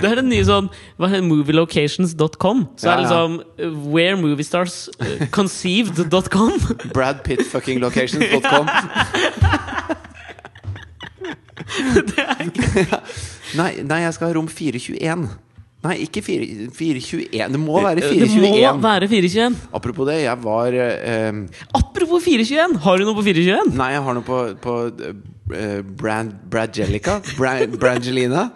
Det er den nye sånn hva heter det, Movielocations.com. Så
Ja,
er det
ja.
liksom uh, Where Moviestars uh, Conceived.com.
Brad Pitt fucking locations.com. nei, nei, jeg skal ha rom 421. Nei, ikke 4, 421. Det må være
Det må
421.
være 421.
Apropos det, jeg var eh,
Apropos 421! Har du noe på 421?
Nei, jeg har noe på, på eh, Brand, Bradgelica. Brand, Brangelina.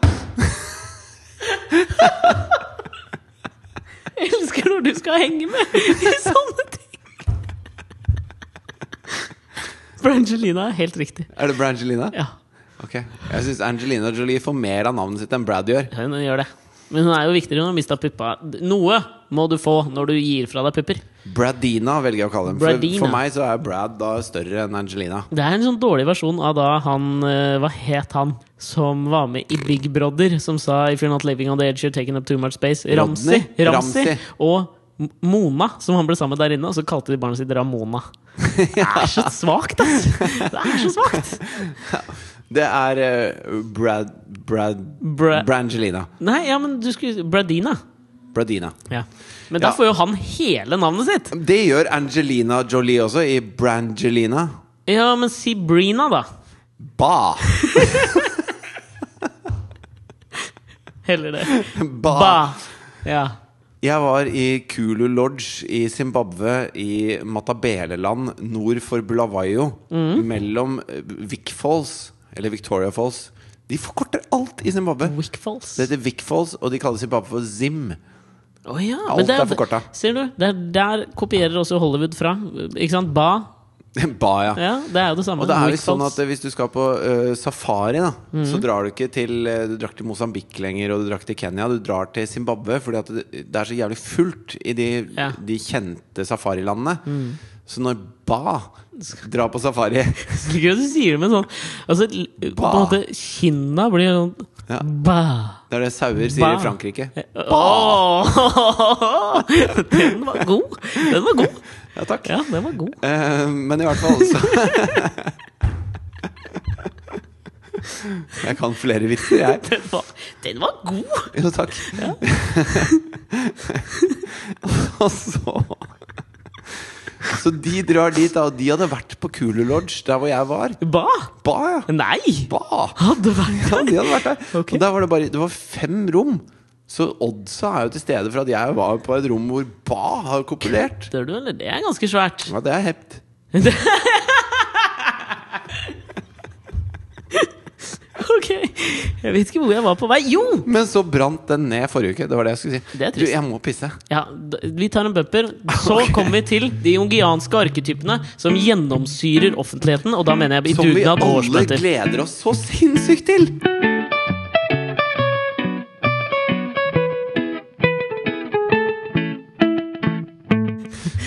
Jeg elsker når du skal henge med i sånne ting. Brangelina er helt riktig.
Er det Brangelina?
Ja,
Ok. Jeg syns Angelina Jolie får mer av navnet sitt enn Brad gjør.
hun gjør det. Men hun er jo viktigere når hun har mista puppa. Noe må du få når du gir fra deg pupper.
Bradina velger jeg å kalle dem. For,
Bradina.
for meg så er Brad da større enn Angelina.
Det er en sånn dårlig versjon av da han eh, Hva het han som var med i Big Brother? Som sa 'If you're not living on the edge, you're taking up too much space'. Ramsi.
Rodney.
Ramsi.
Ramsi.
Og M- Mona, som han ble sammen med der inne. Og så kalte de barnet sitt Ramona. Det er så svakt, ass! Det er så svagt.
Det er eh, Brad, Brad
Bra-
Brangelina.
Nei, ja, men du skulle Bradina.
Bradina.
Ja. Men da
Ja.
får jo han hele navnet sitt!
Det gjør Angelina Jolie også, i Brangelina.
Ja, men si Brina, da.
Ba.
Heller det.
Ba.
Ba. Ja.
Jeg var i Kulu Lodge i Zimbabwe, i Matabeleland nord for Bulawayo,
Mm.
mellom eh, Vic Falls, eller Victoria Falls. De forkorter alt i Zimbabwe.
Wickfalls.
Det heter Vic Falls, og de kaller Zimbabwe for Zim.
Å ja.
Alt
men det
er forkorta.
Ser du? Der, der kopierer også Hollywood fra. Ikke sant? Ba.
ba, ja.
Ja, det er jo det samme.
Og det er
Wick
visst sånn
Falls.
at eh, hvis du skal på eh, safari, da,
Mhm.
så drar du ikke til eh, Du drar ikke til Mosambik lenger, og du drar ikke til Kenya. Du drar til Zimbabwe, fordi at det, det er så jævlig fullt i de,
Ja. Mhm.
de kjente safarilandene. Så når Ba drar på safari
Så liker jeg at du sier det med sånn altså, l- På
Ba.
en måte, kinna blir sånn
Ja.
Ba.
Det er det sauer sier
Ba. Eh,
i Frankrike.
Åh! Den var god! Den var god!
Ja, takk.
Ja, den var god.
Eh, men i hvert fall så Jeg kan flere vitser, jeg.
Den var, den var god!
Jo, takk. og så Så de drar dit, da. Og de hadde vært på Kulu Lodge, der hvor jeg var.
Ba?
Ba, ja.
Nei!
Ba.
Hadde vært
Ja, de hadde vært der.
Ok.
Og der var det bare Det var fem rom. Så oddsa er jo til stede for at jeg var på et rom hvor Ba har kopulert.
Dør du, eller? Det er ganske svært.
Ja, det er hept.
Ok. Jeg vet ikke hvor jeg var på vei. Jo!
Men så brant den ned forrige uke. Det var det jeg skulle si.
Det er
du,
trist.
jeg må pisse.
Ja, d- vi tar en bumper. Så kommer vi til de jungianske arketypene som gjennomsyrer offentligheten, og da mener jeg i
Som vi
dugnad og
alle
årsmøter.
gleder oss så sinnssykt til!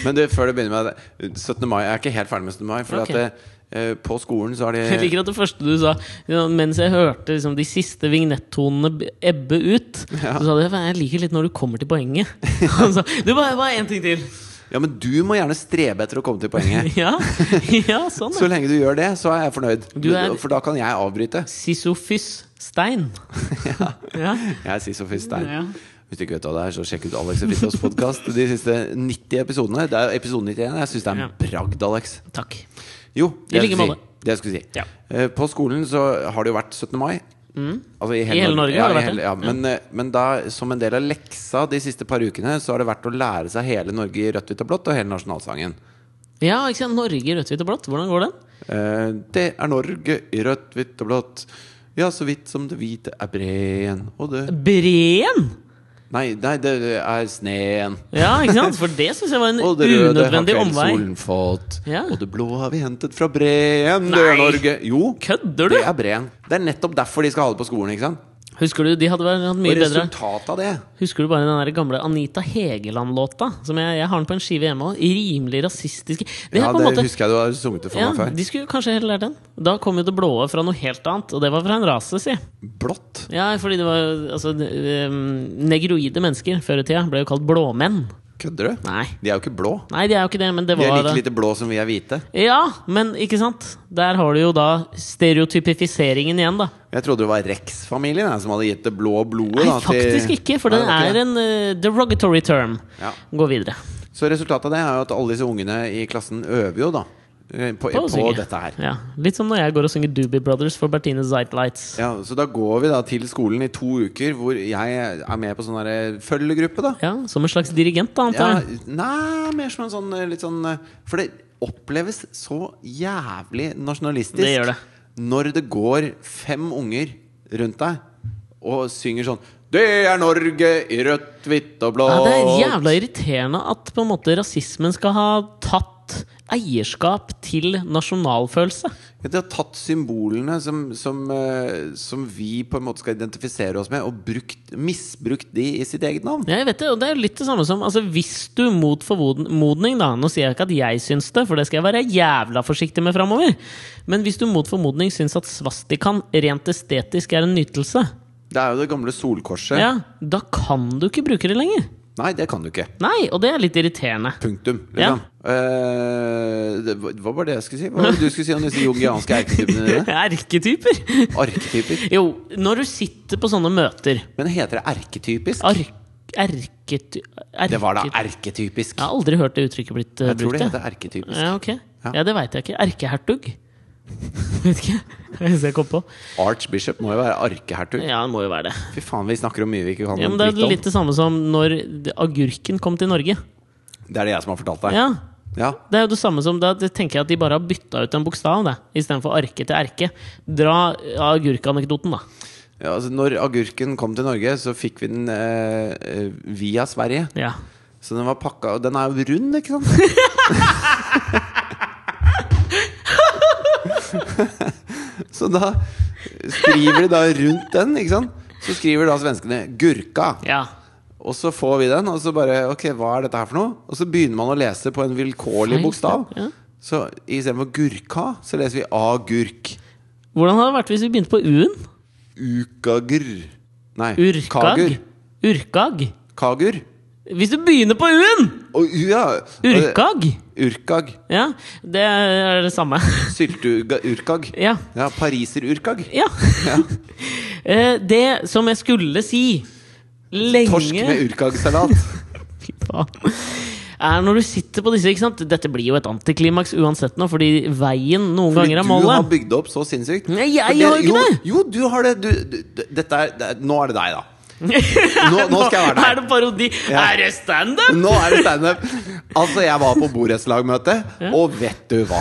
Men du, før du begynner med det 17. mai, jeg er ikke helt ferdig med 17. mai. For
Ok.
at eh, på skolen så har de
Jeg liker at det første du sa, ja, mens jeg hørte liksom, de siste vignettonene b- ebbe ut
Ja.
Så sa du jeg liker litt når du kommer til poenget. Og så, du bare, bare en ting til.
Ja, men du må gjerne strebe etter å komme til poenget.
Ja, ja sånn.
Så
ja.
lenge du gjør det, så er jeg fornøyd.
Du er-
For da kan jeg avbryte.
Sisofys Stein. Ja.
Jeg er Sisofis der.
Ja.
Hvis du ikke vet hva det er, så sjekk ut Alex og Fridtjofs podkast. De siste 90 episodene. Det er episode 91. Jeg syns det er en bragd, Alex.
Takk.
Jo,
I
det jeg
like
skulle
måte.
si. Det jeg skulle si.
Ja. Mm.
Eh, På skolen så har det jo vært 17. mai. Altså i
hele Norge
ja,
har det vært
i
det.
hele- Ja, men, eh, men da, som en del av leksa de siste par ukene, så har det vært å lære seg hele Norge i rødt, hvitt og blått og hele nasjonalsangen.
Ja, ikke sant. Norge i rødt, hvitt og blått. Hvordan går den?
Eh, Det er Norge i rødt, hvitt og blått. Ja, så vidt som det hvite er breen og det
Breen!
Nei, nei det er sneen.
Ja, ikke sant? For det syns jeg var en
Og det røde har
unødvendig omvei.
kveldssolen fått.
Ja.
Og det blå har vi hentet fra breen,
Nei.
dør Norge. Jo,
Kødder du?!
det er breen. Det er nettopp derfor de skal ha det på skolen, ikke sant?
Husker du de hadde vært hatt mye
Og
bedre
resultatet av det
Husker du bare den der gamle Anita Hegeland-låta? Som jeg, jeg har den på en skive hjemme òg. Rimelig rasistisk. Det er
Ja,
på en
det
måte
husker jeg du har sunget det for
ja,
meg før.
De skulle kanskje heller lært den. Da kom jo det blåe fra noe helt annet, og det var fra en rase, si.
Blått.
Ja, fordi det var altså eh, Negroide mennesker før i tida ble jo kalt blåmenn.
Kødder du?
Nei.
De er jo ikke blå.
Nei, de er jo ikke det, men det
De er
var
like lite blå som vi er hvite.
Ja, men ikke sant? Der har du jo da stereotypifiseringen igjen, da.
Jeg trodde det var Rex-familien jeg, som hadde gitt det blå blodet.
Nei,
da, til-
faktisk ikke, for
Nei,
den
det var ikke
er en eh, derogatory term.
Ja.
Gå videre.
det. Så resultatet av det er jo at alle disse ungene i klassen øver jo, da. eh, På,
På
på,
å synge.
dette her.
Ja. Litt som når jeg går og synger Doobie Brothers for Bertine Zeitlights.
Ja, så da går vi da til skolen i to uker, hvor jeg er med på sånn der følgegruppe, da.
Ja, som en slags dirigent, da, antar jeg.
Ja, nei, mer som en sånn eh, litt sånn eh, For det oppleves så jævlig nasjonalistisk
Det gjør det.
når det går fem unger rundt deg og synger sånn Det er Norge i rødt, hvitt og blått.
Ja, det er jævla irriterende at på en måte rasismen skal ha tatt eierskap til nasjonalfølelse.
Ja, De har tatt symbolene som, som, eh, som vi på en måte skal identifisere oss med, og brukt, misbrukt de i sitt eget navn.
Ja, jeg vet det, og det er jo litt det samme som altså, Hvis du mot formodning, da Nå sier jeg ikke at jeg syns det, for det skal jeg være jævla forsiktig med framover. Men hvis du mot formodning syns at svastikaen rent estetisk er en nytelse,
Det er jo det gamle solkorset.
ja, da kan du ikke bruke det lenger.
Nei, det kan du ikke.
Nei, og det er litt irriterende.
Punktum.
Ja.
Liksom. Eh, det, hva var det jeg skulle si? Hva var det du skulle si om disse jungianske erketypene dine?
Erketyper.
Arketyper?
Jo, når du sitter på sånne møter
Men heter det erketypisk?
Ark... Erket...
Det var da
erket-
erketypisk.
Jeg har aldri hørt det uttrykket blitt eh,
Jeg tror
brukt.
det
jeg.
heter erketypisk.
Ja, ok.
Ja.
Ja, det veit jeg ikke. Erkehertug? Vet ikke. Det er det jeg kom på.
Archbishop må jo være arkehertug.
Ja, det må jo være det.
Fy faen, vi snakker om mye vi ikke kan
Ja, men det
dritt
er
om.
litt det samme som når agurken kom til Norge.
Det er det jeg som har fortalt deg.
Ja,
Ja.
det er jo det samme som da det tenker jeg at de bare har bytta ut en bokstav det, istedenfor arke til erke. Dra agurkanekdoten, da.
Ja, altså, når agurken kom til Norge, så fikk vi den eh, eh, via Sverige.
Ja.
Så den var pakka Og den er jo rund, ikke sant? så da skriver de da rundt den, ikke sant? Så skriver da svenskene 'gurka'.
ja.
Og så får vi den, og så bare Ok, hva er dette her for noe? Og så begynner man å lese på en vilkårlig
Feil
bokstav.
stad, ja.
Så istedenfor 'gurka', så leser vi 'agurk'.
Hvordan hadde det vært hvis vi begynte på u-en?
Ukagr. Nei.
Urkag.
Kagur.
Urkag.
Kagur.
Hvis du begynner på u-en!
Og ja.
Urkag.
Urkag.
Ja, det er det samme.
Sylteurkag.
Ja.
Ja, pariserurkag.
Ja. Eh, Det som jeg skulle si lenge
Torsk med urkagsalat.
Fy faen. Er når du sitter på disse, ikke sant? Dette blir jo et antiklimaks uansett nå, fordi veien noen
Du
ganger er
har
målet.
bygd det opp så sinnssykt.
Nei, jeg
For det-
har jo ikke det.
Jo, du har det. Du, du, d- dette er, det, er- nå er det deg, da. Nå, nå skal jeg
Er
være der.
det parodi?
Ja.
Er det standup?
Nå er det standup. Altså, jeg var på borettslagmøte, og vet du hva?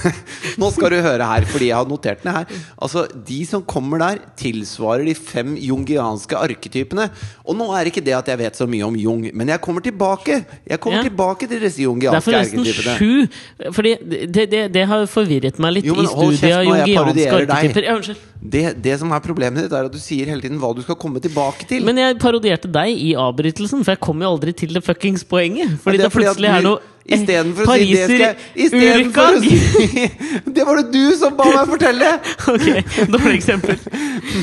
Nå skal du høre her, fordi jeg har notert ned her. Altså, De som kommer der, tilsvarer de fem jungianske arketypene. Og nå er ikke det at jeg vet så mye om Jung, men jeg kommer tilbake Jeg kommer
Ja.
tilbake til disse
Det er
jungianske
forresten
arketypene.
sju. Fordi det, det, det har forvirret meg litt
Jo, men
i
hold
studiet av
kjeft nå, jeg
jungianske
parodierer deg.
arketyper. Ja, unnskyld.
Det, det som er problemet ditt, er at du sier hele tiden hva du skal komme tilbake til.
Men jeg parodierte deg i avbrytelsen, for jeg kom jo aldri til det fuckings poenget. Fordi
Men
det,
er fordi at
plutselig er
du-
noe eh,
Istedenfor å si det skal jeg istedenfor å
Pariser-urkag!
si- Det var det du som ba meg fortelle!
ok, dårlig eksempel.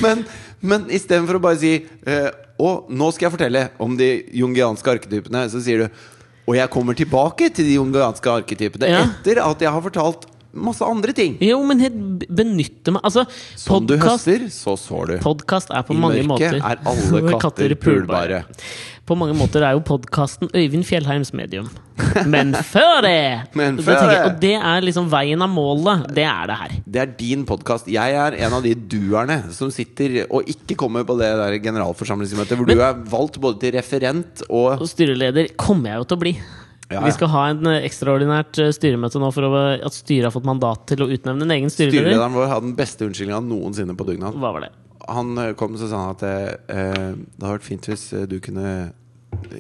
Men, men istedenfor å bare si eh, Og nå skal jeg fortelle om de jungianske arketypene, så sier du Og jeg kommer tilbake til de jungianske arketypene
Ja.
etter at jeg har fortalt masse andre ting.
Jo, men helt benytte meg Altså,
Som du
podcast-
høster, så sår du.
Podcast er på
I
mange måter
mørket er alle katter pulbare.
På mange måter er jo podkasten Øyvind Fjellheims medium. Men før det!
Men
Da
før
tenker jeg,
det!
Og det er liksom veien av målet. Det er det her.
Det er din podkast. Jeg er en av de duerne som sitter og ikke kommer på det der generalforsamlingsmøtet hvor du er valgt både til referent og
Og styreleder kommer jeg jo til å bli.
Ja, ja.
Vi skal ha en eh, ekstraordinært eh, styremøte nå for å, at styret har fått mandat til å utnevne en egen styreleder.
Styrelederen vår hadde den beste unnskyldninga noensinne på dugnad.
Hva var det?
Han eh, kom og sa han at eh, det hadde vært fint hvis eh, du kunne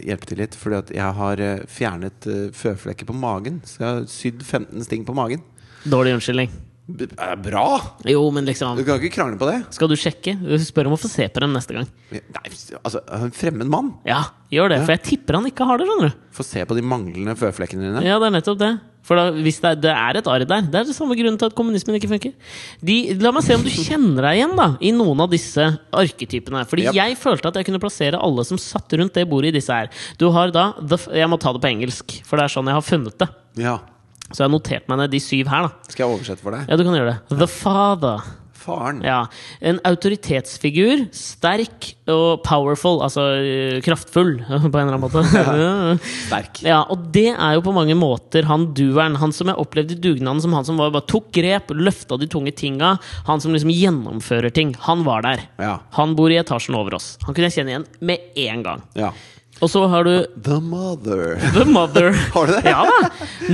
hjelpe til litt. Fordi at jeg har eh, fjernet eh, føflekker på magen. Så jeg har sydd 15 sting på magen.
Dårlig unnskyldning.
B er bra!
Jo, men
Du
liksom
kan ikke krangle på det.
Skal du sjekke? Spør om å få se på dem neste gang.
Nei, altså, en fremmed mann
Ja, gjør det, for jeg tipper han ikke har det, skjønner du.
får se på de manglende føflekkene dine.
Ja, det er nettopp det. For da, hvis det er, det er et arr der. Det er det samme grunnen til at kommunismen ikke funker. De, la meg se om du kjenner deg igjen da i noen av disse arketypene. Fordi
Yep.
jeg følte at jeg kunne plassere alle som satt rundt det bordet i disse her. Du har da the, f- Jeg må ta det på engelsk, for det er sånn jeg har funnet det.
Ja.
Så jeg har notert meg ned de syv her, da.
Skal jeg oversette for deg?
Ja, du kan gjøre det. The Father.
Faren.
Ja. En autoritetsfigur. Sterk og powerful. Altså øh, kraftfull, på en eller annen måte.
Sterk.
Ja, og det er jo på mange måter han dueren. Han som jeg opplevde i dugnaden som han som var, bare tok grep, løfta de tunge tinga. Han som liksom gjennomfører ting. Han var der.
Ja.
Han bor i etasjen over oss. Han kunne jeg kjenne igjen med en gang.
Ja.
Og så har du
The mother.
The Mother.
Har du det?
Ja da.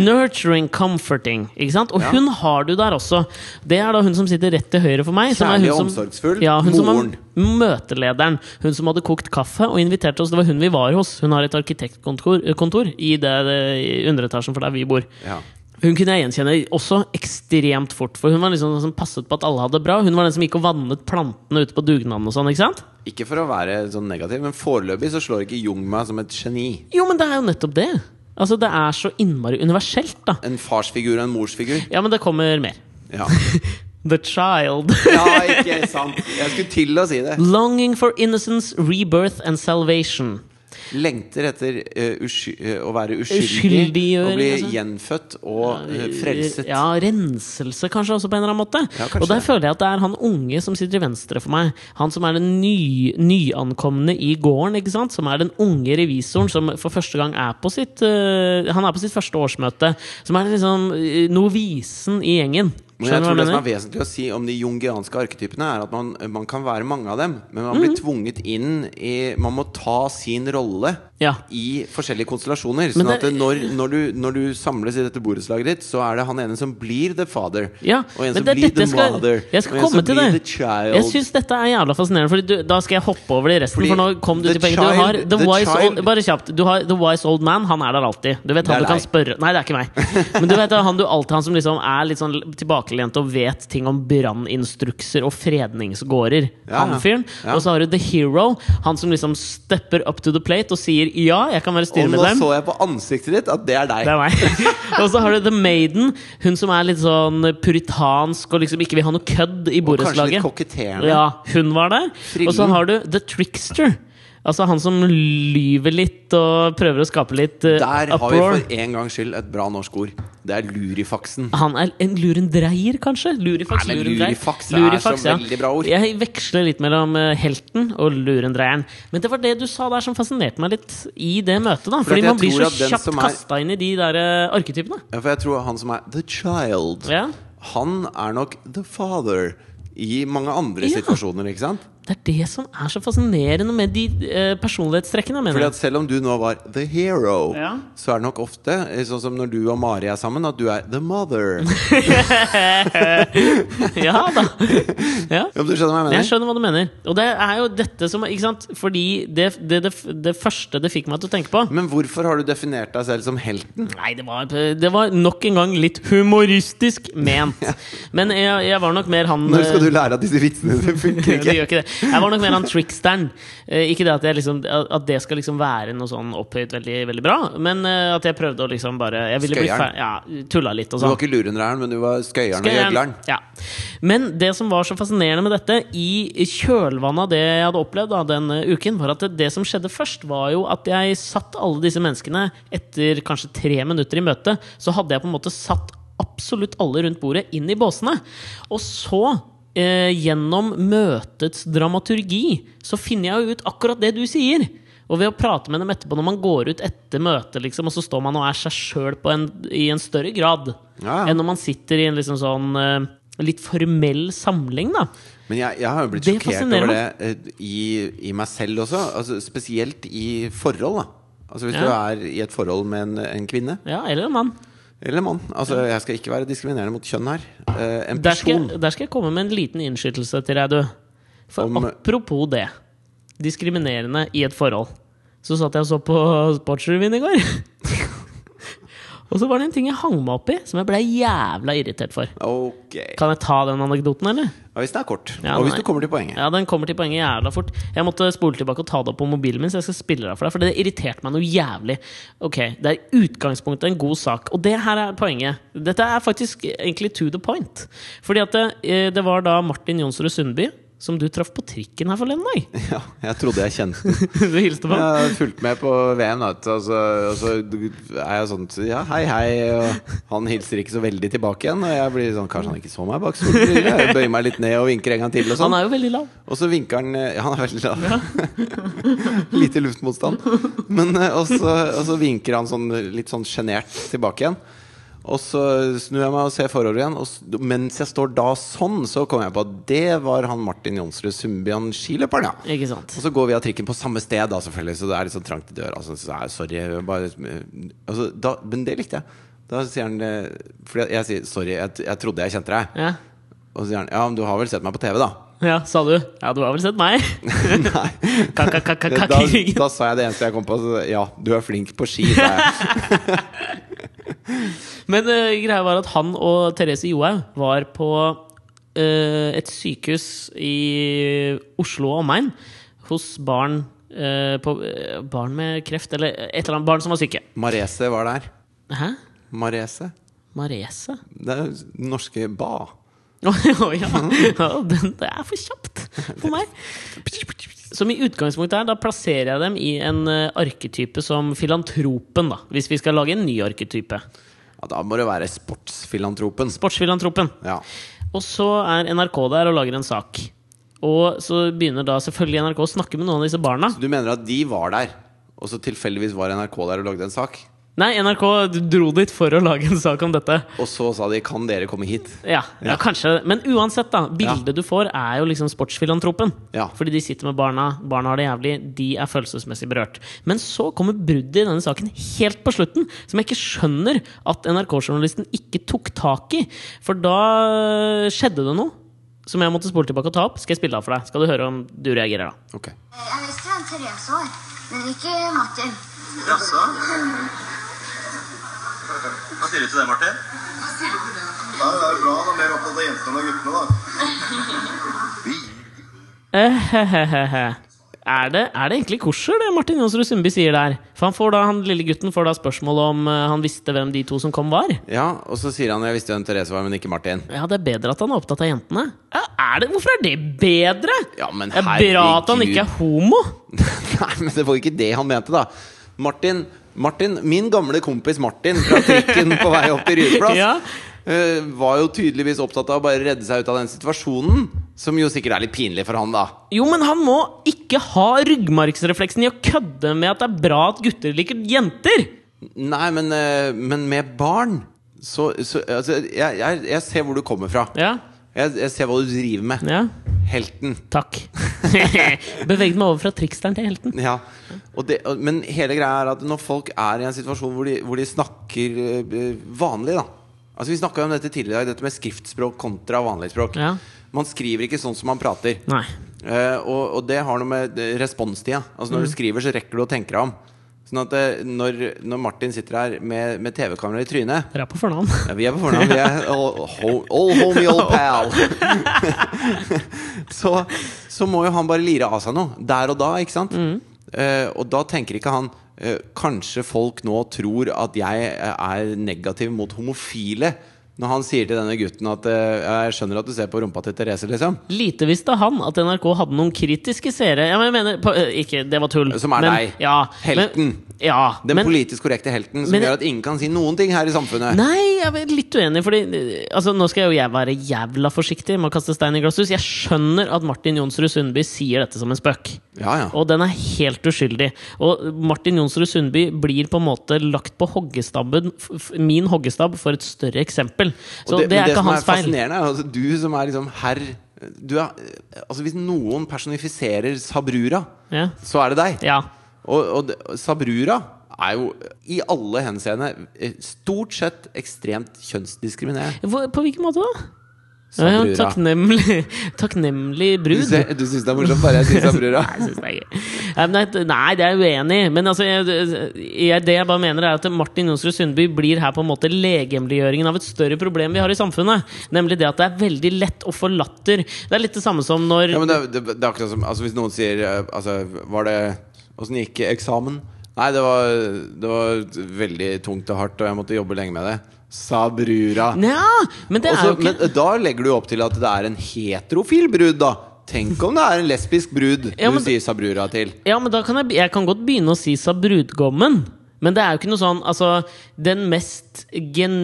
Nurturing, comforting. Ikke sant? Og
Ja.
hun har du der også. Det er da hun som sitter rett til høyre for meg. Som er
Kjærlig
hun
og
som,
omsorgsfull.
Ja, hun som var
Moren.
møtelederen. Hun som hadde kokt kaffe og invitert oss. Det var hun eh, vi var hos. Hun har et arkitektkontor kontor i det, det, i underetasjen for der vi bor.
Ja.
Hun kunne jeg gjenkjenne også ekstremt fort. For hun var liksom den som passet på at alle hadde det bra. Hun var den som gikk og vannet plantene ute på dugnaden og sånn. ikke sant?
Ikke for å være sånn negativ, men foreløpig så slår ikke Jung meg som et geni.
Jo, men det er jo nettopp det. Altså, Det er så innmari universelt, da.
En farsfigur og en morsfigur.
Ja, men det kommer mer.
Ja.
The child.
ja, ikke sant. Jeg skulle til å si det.
Longing for innocence, rebirth and salvation.
Lengter etter eh, usky eh, å være uskyldig,
Uskyldiggjøring,
å bli
altså.
gjenfødt og eh, frelset.
Ja, renselse kanskje også, på en eller annen måte.
Ja, kanskje.
og der føler jeg at det er han unge som sitter i venstre for meg. Han som er den ny, nyankomne i gården, ikke sant? som er den unge revisoren som for første gang er på sitt øh, Han er på sitt første årsmøte. Som er liksom øh, novisen i gjengen.
Men jeg
Skjønner du hva
tror det
jeg
som er
mener?
vesentlig å si om de jungianske arketypene, er at man, man kan være mange av dem, men man blir
Mhm.
tvunget inn i Man må ta sin rolle
Ja.
i forskjellige konstellasjoner.
Men
Sånn at
det-
det, når, når, du, når du samles i dette borettslaget ditt, så er det han ene som blir the father,
Ja,
og en
men
som
det er
blir
dette
the
jeg skal,
mother,
jeg skal
og en
komme
som
til
blir
det.
the child.
Jeg syns dette er jævla fascinerende, Fordi du, da skal jeg hoppe over det i resten.
Fordi
for nå kom du
the
til poenget.
child-
Du har the,
the
wise
child-
old, bare kjapt. Du har the wise old man. Han er der alltid. Du vet
Det er
han du kan
deg.
spørre Nei, det er ikke meg. Men du vet han du alltid han som liksom er litt sånn tilbakelent og vet ting om branninstrukser og fredningsgårder.
Ja,
han
ja.
fyren.
Ja.
Og så har du the hero. Han som liksom stepper up to the plate og sier ja, jeg kan være
og nå
styremedlem.
så jeg på ansiktet ditt at det er deg.
Det er meg. og så har du The Maiden, hun som er litt sånn puritansk og liksom ikke vil ha noe kødd i
og kanskje litt
borettslaget.
koketterende.
Ja, hun var der.
Frillen.
Og så har du The Trickster. Altså han som lyver litt og prøver å skape litt eh,
Der har vi
uproar.
for en gangs skyld et bra norsk ord. Det er lurifaksen.
Han er en lurendreier, kanskje? Lurifaks,
Nei, men
lurendreier.
lurifaks er så veldig bra ord.
Jeg veksler litt mellom eh, helten og lurendreieren. Men det var det du sa der som fascinerte meg litt i det møtet. da
at
Fordi
jeg
man blir
tror
så
at den
kjapt
som er-
kastet kasta inn i de der eh, arketypene.
Ja, for jeg tror han som er the child,
Ja,
han er nok the father i mange andre
Ja.
situasjoner, ikke sant?
Det er det som er så fascinerende med de eh, personlighetstrekkene. mener
Fordi
jeg
at selv om du nå var the hero,
Ja.
så er det nok ofte, eh, sånn som når du og Mari er sammen, at du er the mother.
Ja da ja.
Ja, men du skjønner
Jeg
hva jeg mener?
skjønner hva du mener. Og det er jo dette som ikke sant? Fordi det, det, det, det første det fikk meg til å tenke på
Men hvorfor har du definert deg selv som helten?
Nei, det var, det var nok en gang litt humoristisk ment. Men jeg, jeg var nok mer han
Når skal
eh,
du lære at disse vitsene dine funker
det
ikke?
gjør ikke det. Jeg var nok mer han tricksteren. Eh, Ikke det at, jeg liksom, at det skal liksom være noe sånn opphøyt veldig, veldig bra, men eh, at jeg prøvde å liksom bare Jeg ville bli
Skøyeren.
fer- Ja, tulla litt og
Du
sånn.
var ikke lurendreieren, men du var skøyeren og
Skal jeg-
gjøgleren.
Ja. Men det som var så fascinerende med dette, i kjølvannet av det jeg hadde opplevd da, den eh, uken, var at det, det som skjedde først, var jo at jeg satt alle disse menneskene Etter kanskje tre minutter i møtet, så hadde jeg på en måte satt absolutt alle rundt bordet inn i båsene. Og så Eh, gjennom møtets dramaturgi så finner jeg jo ut akkurat det du sier. Og ved å prate med dem etterpå, når man går ut etter møtet, liksom, og så står man og er seg sjøl i en større grad
Ja, ja.
enn når man sitter i en liksom sånn eh, litt formell samling, da.
Men jeg, jeg har jo blitt
Det
sjokkert
fascinerer
over det eh, i, i meg selv også. Altså, spesielt i forhold, da. Altså Hvis
Ja.
du er i et forhold med en, en kvinne
Ja, eller en mann.
eller en mann. Altså, jeg skal ikke være diskriminerende mot kjønn her. Eh, en
Der skal,
person
der skal jeg komme med en liten innskytelse til deg, du. For
Om-
apropos det. Diskriminerende i et forhold. Så satt jeg og så på Sportsrevyen i går. og så var det en ting jeg hang meg opp i, som jeg ble jævla irritert for.
Ok.
Kan jeg ta den anekdoten, eller?
Ja, hvis den er kort.
Ja, nei.
og hvis du kommer til poenget.
Ja, den kommer til poenget jævla fort. Jeg måtte spole tilbake og ta det opp på mobilen min, så jeg skal spille det av for deg. For det irriterte meg noe jævlig. Ok, Det er i utgangspunktet en god sak. Og det her er poenget. Dette er faktisk egentlig to the point. Fordi at det, eh, det var da Martin Jonsrud Sundby som du traff på trikken her forleden dag.
Ja, jeg trodde jeg kjente
Du
den.
hilste på
Jeg
ham.
har fulgt med på VM, da, og så, og så Altså, er jeg sånn Ja, hei, hei. Og han hilser ikke så veldig tilbake igjen. Og jeg blir sånn Kanskje han ikke så meg bak solbrillene? Jeg Bøyer meg litt ned og vinker en gang til og sånn.
Han er jo veldig lav.
Og så vinker han eh, Ja, han er veldig lav. Lite luftmotstand. Men eh, og så, og så vinker han sånn litt sånn sjenert tilbake igjen. Og så snur jeg meg og ser forover igjen, og s- mens jeg står da sånn, så kommer jeg på at det var han Martin Jonsrud Sundbyan, skiløperen, ja.
Ikke sant?
Og så går vi av trikken på samme sted, da selvfølgelig, så det er litt sånn trangt i døra. Altså, så er jeg, sorry, jeg bare, altså, da, men det likte jeg. Da sier han eh, Fordi jeg sier sorry, jeg, t- jeg trodde jeg kjente deg.
Ja.
Og så sier han ja, men du har vel sett meg på TV, da?
ja, sa du. Ja, du har vel sett meg?
Nei. Eh, Da,
Ka-ka-ka-ka-ka i ryggen.
da sa jeg det eneste jeg kom på. Så, ja, du er flink på ski, sa jeg.
Men eh, greia var at han og Therese Johaug var på eh, et sykehus i Oslo og omegn hos barn eh, på, eh, Barn med kreft, eller et eller annet. Barn som var syke.
Marese var der.
Hæ?
Marese.
Marese?
Det er jo norske ba.
Å ja. ja den, det er for kjapt for meg. Som i utgangspunktet her, da plasserer jeg dem i en eh, arketype som filantropen, da. Hvis vi skal lage en ny arketype.
Ja, da må det være sportsfilantropen.
Sportsfilantropen.
Ja.
Og så er NRK der og lager en sak. Og så begynner da selvfølgelig NRK å snakke med noen av disse barna.
Du mener at de var der, og så tilfeldigvis var NRK der og lagde en sak?
Nei, NRK dro dit for å lage en sak om dette.
Og så sa de 'kan dere komme hit'?
Ja, ja kanskje. Men uansett, da. Bildet du får, er jo liksom sportsfilantropen.
Ja.
Fordi de sitter med barna, barna har det jævlig, de er følelsesmessig berørt. Men så kommer bruddet i denne saken helt på slutten, som jeg ikke skjønner at NRK-journalisten ikke tok tak i. For da skjedde det noe som jeg måtte spole tilbake og ta opp. Skal jeg spille av for deg? Skal du høre om du reagerer da?
Ok.
Jeg har lyst til å være Therese år, men ikke Martin.
Jaså? Hva sier du til det, Martin?
Nei, det er bra. Han er mer opptatt av jentene enn av guttene, da.
Ehehehe. Er det, er det egentlig kosher, det Martin Jonsrud Sundby sier der? For han, får da, han lille gutten får da spørsmål om eh, han visste hvem de to som kom, var.
Ja, og så sier han 'jeg visste hvem Therese var, men ikke Martin'.
Ja, det er bedre at han er opptatt av jentene. Ja, er det, hvorfor er det bedre?
Ja, men
det er bra at han
herregud.
ikke er homo!
Nei, men det var ikke det han mente, da. Martin, Martin min gamle kompis Martin fra trikken på vei opp til Rydeplass,
Ja.
eh, var jo tydeligvis opptatt av å bare redde seg ut av den situasjonen. Som jo sikkert er litt pinlig for han, da.
Jo, men han må ikke ha ryggmargsrefleksen i å kødde med at det er bra at gutter liker jenter!
Nei, men, eh, men med barn så, så altså, jeg, jeg, jeg ser hvor du kommer fra.
Ja.
Jeg, jeg ser hva du driver med.
ja.
Helten.
Takk. Beveget meg over fra triksteren til helten.
Ja, og det, og, Men hele greia er at når folk er i en situasjon hvor de, hvor de snakker eh, vanlig, da Altså Vi snakka om dette tidligere i dag, dette med skriftspråk kontra vanlig språk.
Ja.
Man skriver ikke sånn som man prater.
Nei.
Eh, og, og det har noe med eh, responstida. Altså
Mm.
Når du skriver, så rekker du å tenke deg om. Sånn at eh, når, når Martin sitter her med, med TV-kamera i trynet
Dere er på fornavn.
ja, vi er på fornavn. Vi er all, ho- all homie, all pal. så, så må jo han bare lire av seg noe der og da, ikke sant?
Mm.
Eh, og da tenker ikke han eh, Kanskje folk nå tror at jeg eh, er negativ mot homofile. Når han sier til denne gutten at eh, 'jeg skjønner at du ser på rumpa til Therese', liksom.
Lite visste han at NRK hadde noen kritiske seere ja, men jeg mener, på, eh, Ikke, det var tull.
Som er
men,
deg.
Ja,
Helten.
Men, ja,
Den
men,
politisk korrekte helten som
men-
gjør at ingen kan si noen ting her i samfunnet.
Nei, jeg er litt uenig, Fordi, eh, altså, nå skal jo jeg være jævla forsiktig med å kaste stein i glasshus. Jeg skjønner at Martin Jonsrud Sundby sier dette som en spøk.
Ja, ja.
Og den er helt uskyldig. Og Martin Jonsrud Sundby blir på en måte lagt på hoggestabben, f- f- min hoggestabb, for et større eksempel. Så
Og
det,
men
er ikke
som
hans
er
feil.
fascinerende, er jo altså, du som er liksom herr du er, altså Hvis noen personifiserer Sabrura,
Ja.
så er det deg.
ja.
Og, og det- Sabrura er jo i alle henseende eh, stort sett ekstremt kjønnsdiskriminerende.
Hvor, på hvilken måte da? Ja, ja,
Sabrura.
takknemlig, takknemlig
Du,
brud.
ser- du syns det er morsomt bare jeg sier Sabrura?
Nei, jeg synes det er gøy. Nei, men det- Nei, det er jeg uenig i. Men altså, jeg, jeg, det jeg bare mener, er at Martin Jonsrud Sundby blir her på en måte legemliggjøringen av et større problem vi har i samfunnet. Nemlig det at det er veldig lett å få latter. Det er litt det samme som når
Ja, men det, er- det, det er akkurat som altså, Hvis noen sier eh, altså, Var det Åssen gikk eksamen? Nei, det var, det var veldig tungt og hardt, og jeg måtte jobbe lenge med det. Sabrura.
Nja, men det er
Også,
jo ikke
Men da legger du opp til at det er en heterofil brud, da. Tenk om det er en lesbisk brud
Ja, men
du sier Sabrura til.
Ja, men da kan jeg, jeg kan godt begynne å si sa brudgommen. Men det er jo ikke noe sånn Altså, den mest gen...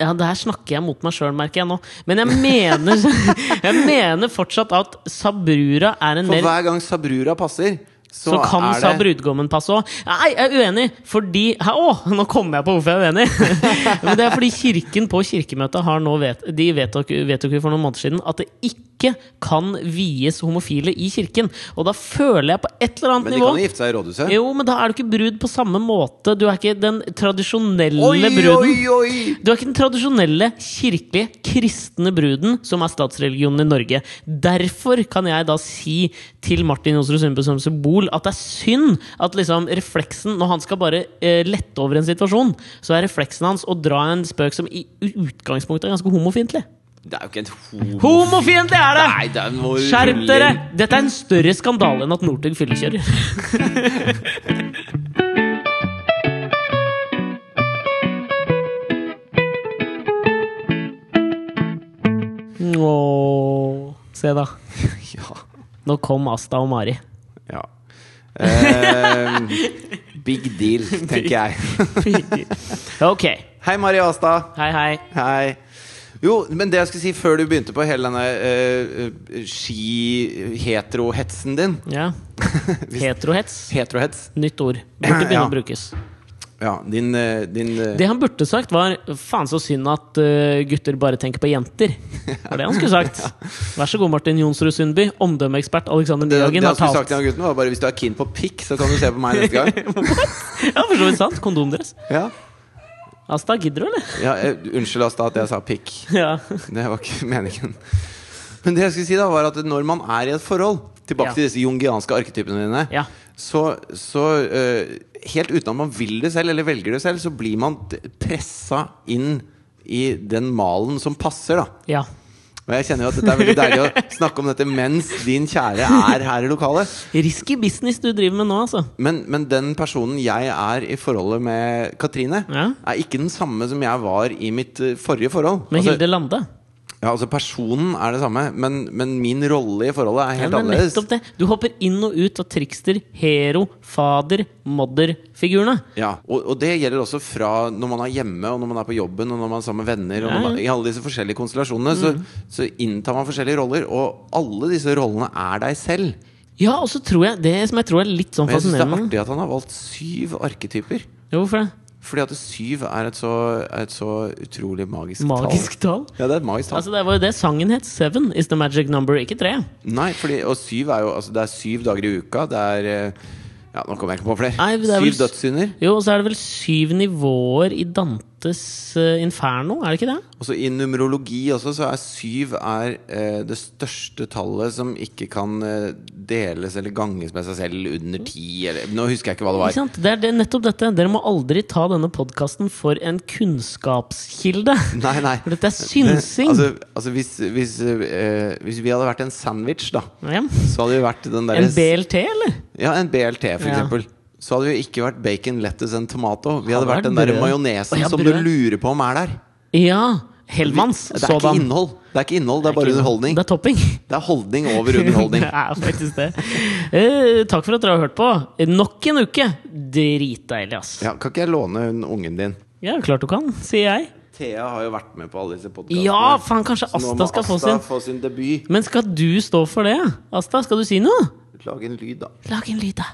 Ja, der snakker jeg mot meg sjøl, merker jeg nå. Men jeg mener, jeg mener fortsatt at Sabrura er en
For
mer
hver gang Sabrura passer, så,
Så kan
er
sa
det
brudgommen passe òg. Nei, jeg er uenig, fordi Hæ, Å, nå kom jeg på hvorfor jeg er uenig! Men det er fordi Kirken på kirkemøtet har nå vet, De vedtok, vedtok jo for noen måneder siden at det ikke ikke kan vies homofile i kirken. Og da føler jeg på et eller annet
Men de
nivå
kan jo gifte seg i rådhuset.
Jo, men da er du ikke brud på samme måte. Du er ikke den tradisjonelle
Oi, oi,
bruden.
oi!
Du er ikke den tradisjonelle kirkelige kristne bruden som er statsreligionen i Norge. Derfor kan jeg da si til Martin Jonsrud Sundbø som symbol at det er synd at liksom refleksen Når han skal bare eh, lette over en situasjon, så er refleksen hans å dra en spøk som i utgangspunktet er ganske homofientlig.
Det er jo ikke en homo...
Homofientlig er det!
Nei, den må du
Skjerp
rulle
dere!
inn.
Dette er en større skandale enn at Northug fyllekjører. Åh, se, da.
Ja.
Nå kom Asta og Mari.
ja. Ehm, big deal, tenker jeg.
Ok.
Hei, Mari Asta.
Hei, hei.
Hei. Jo, men det jeg skulle si før du begynte på hele denne eh, eh, ski-hetero-hetsen din
Ja. Heterohets.
Heterohets?
Nytt ord. Burde begynne
Ja.
å brukes.
Ja, din, eh, din eh,
Det han burde sagt, var faen så synd at eh, gutter bare tenker på jenter. Det var det han skulle sagt. Vær så god, Martin Jonsrud Sundby. Omdømmeekspert Alexander
Det, det
Nyhagen
han
har
skulle
talt.
sagt til han gutten, var bare hvis du er keen på pikk, så kan du se på meg neste gang.
Ja, for så vidt sant. Kondomdress.
Ja,
Asta, gidder du, eller?
ja eh, Unnskyld, Asta, at jeg sa pikk.
Ja.
Det var ikke meningen. Men det jeg skulle si da var at når man er i et forhold, tilbake
Ja.
til disse jungianske arketypene dine,
Ja.
så, så eh, helt uten at man vil det selv, eller velger det selv, så blir man pressa inn i den malen som passer, da.
ja.
Og jeg kjenner jo at dette er veldig deilig å snakke om dette mens din kjære er her i lokalet.
Risky business du driver med nå, altså.
Men, men den personen jeg er i forholdet med Katrine,
Ja.
er ikke den samme som jeg var i mitt eh, forrige forhold.
Med
Altså-
Hilde Lande.
Ja, altså Personen er det samme, men, men min rolle i forholdet er
Ja,
helt
men det er
annerledes.
nettopp det. Du hopper inn og ut av trikster, hero, fader, modder-figurene.
Ja, og, og det gjelder også fra når man er hjemme, og når man er på jobben, og når man er sammen med venner.
Ja,
Og
Mm.
når man,
ja.
I alle disse forskjellige konstellasjonene så, så inntar man forskjellige roller, og alle disse rollene er deg selv.
Ja, og så tror jeg det som jeg tror er litt sånn
Og jeg syns det er
fascinerende
artig at han har valgt syv arketyper.
Jo, hvorfor det?
Fordi at syv er et så, et så utrolig magisk,
Magisk tall.
tall. Ja, det er et magisk tall.
Altså, det var jo det sangen het. Seven is the magic number, ikke tre.
Nei, fordi, og syv er jo altså, Det er syv dager i uka. Det er eh, Ja, nå kommer jeg ikke på flere.
Nei, det er vel-
syv dødssynder.
Jo, og så er det vel syv nivåer i Dantes eh, Inferno, er det ikke det?
Og så I numerologi også, så er syv er, eh, det største tallet som ikke kan eh, deles eller ganges med seg selv under ti. Eller, nå husker jeg ikke hva det
Ikke
var.
sant? Det er det, nettopp dette. Dere må aldri ta denne podkasten for en kunnskapskilde.
Nei, nei.
For dette er synsing.
Altså, altså hvis, hvis, eh, hvis vi hadde vært en sandwich, da,
ja.
så hadde vi vært den derre
En BLT, eller?
Ja, en BLT, for
Ja.
eksempel. Så hadde vi ikke vært bacon, lettuce and tomato. Vi
Hadde
hadde vært
vært
den der
brød.
majonesen
Å, ja,
som du
brød.
lurer på om er der.
Ja. Hellmanns.
Det er ikke
Sådan.
innhold. Det er ikke innhold, det er bare
ikke-
underholdning.
Det er topping.
Det er holdning over underholdning.
det er faktisk det. Eh, takk for at dere har hørt på. Nok en uke. Dritdeilig, ass.
Ja, kan ikke jeg låne hun ungen din?
Ja, klart du kan, sier jeg.
Thea har jo vært med på alle disse podkastene.
Ja, faen, kanskje Asta skal få sin
debut.
Men skal du stå for det? Asta, skal du si noe?
Lag en lyd, da.
Lag en lyd, da.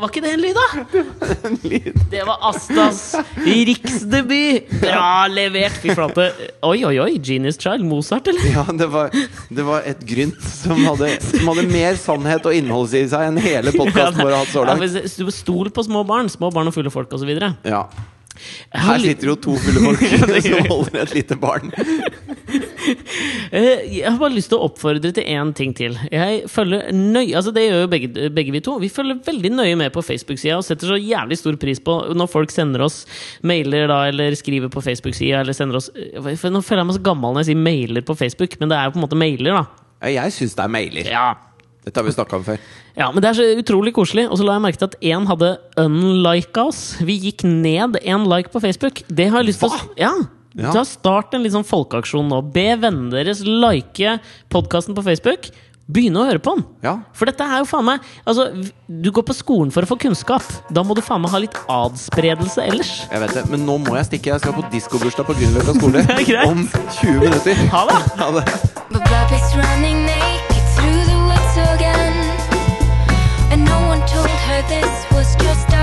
Var ikke det en lyd, da? Det var Astas riksdebut! Bra levert! Fy flate. Oi, oi, oi. Genius Child. Mozart, eller?
Ja, det var, det var et grynt som hadde, som hadde mer sannhet og innhold i seg enn hele podkasten vår har hatt så
Ja,
langt.
men stol- Stol på små barn. Små barn og fulle folk osv.
Ja. Her sitter jo to fulle folk som holder et lite barn.
Eh, Jeg har bare lyst til å oppfordre til én ting til. Jeg følger nøye, altså Det gjør jo begge, begge vi to. Vi følger veldig nøye med på Facebook-sida og setter så jævlig stor pris på når folk sender oss mailer da, eller skriver på Facebook-sida eller sender oss eh, for Nå føler jeg meg så gammel når jeg sier mailer på Facebook, men det er jo på en måte mailer, da.
Ja, jeg syns det er mailer.
Ja.
Dette har vi snakka om før.
Ja, Men det er så utrolig koselig. Og så la jeg merke til at én hadde unlika oss. Vi gikk ned én like på Facebook. Det har jeg lyst til å Ja.
Ja.
Da start en litt sånn folkeaksjon nå. Be vennene deres like podkasten på Facebook. Begynne å høre på den.
Ja.
For dette er jo faen meg Altså, v- du går på skolen for å få kunnskap. Da må du faen meg ha litt adspredelse ellers.
Jeg vet det, Men nå må jeg stikke. Jeg skal på diskobursdag på Grünerløkka skole
Det er greit.
om 20 minutter.
Ha det!
Ha det.
But Bobby's running naked through the woods again. And no one told her this was just a uh,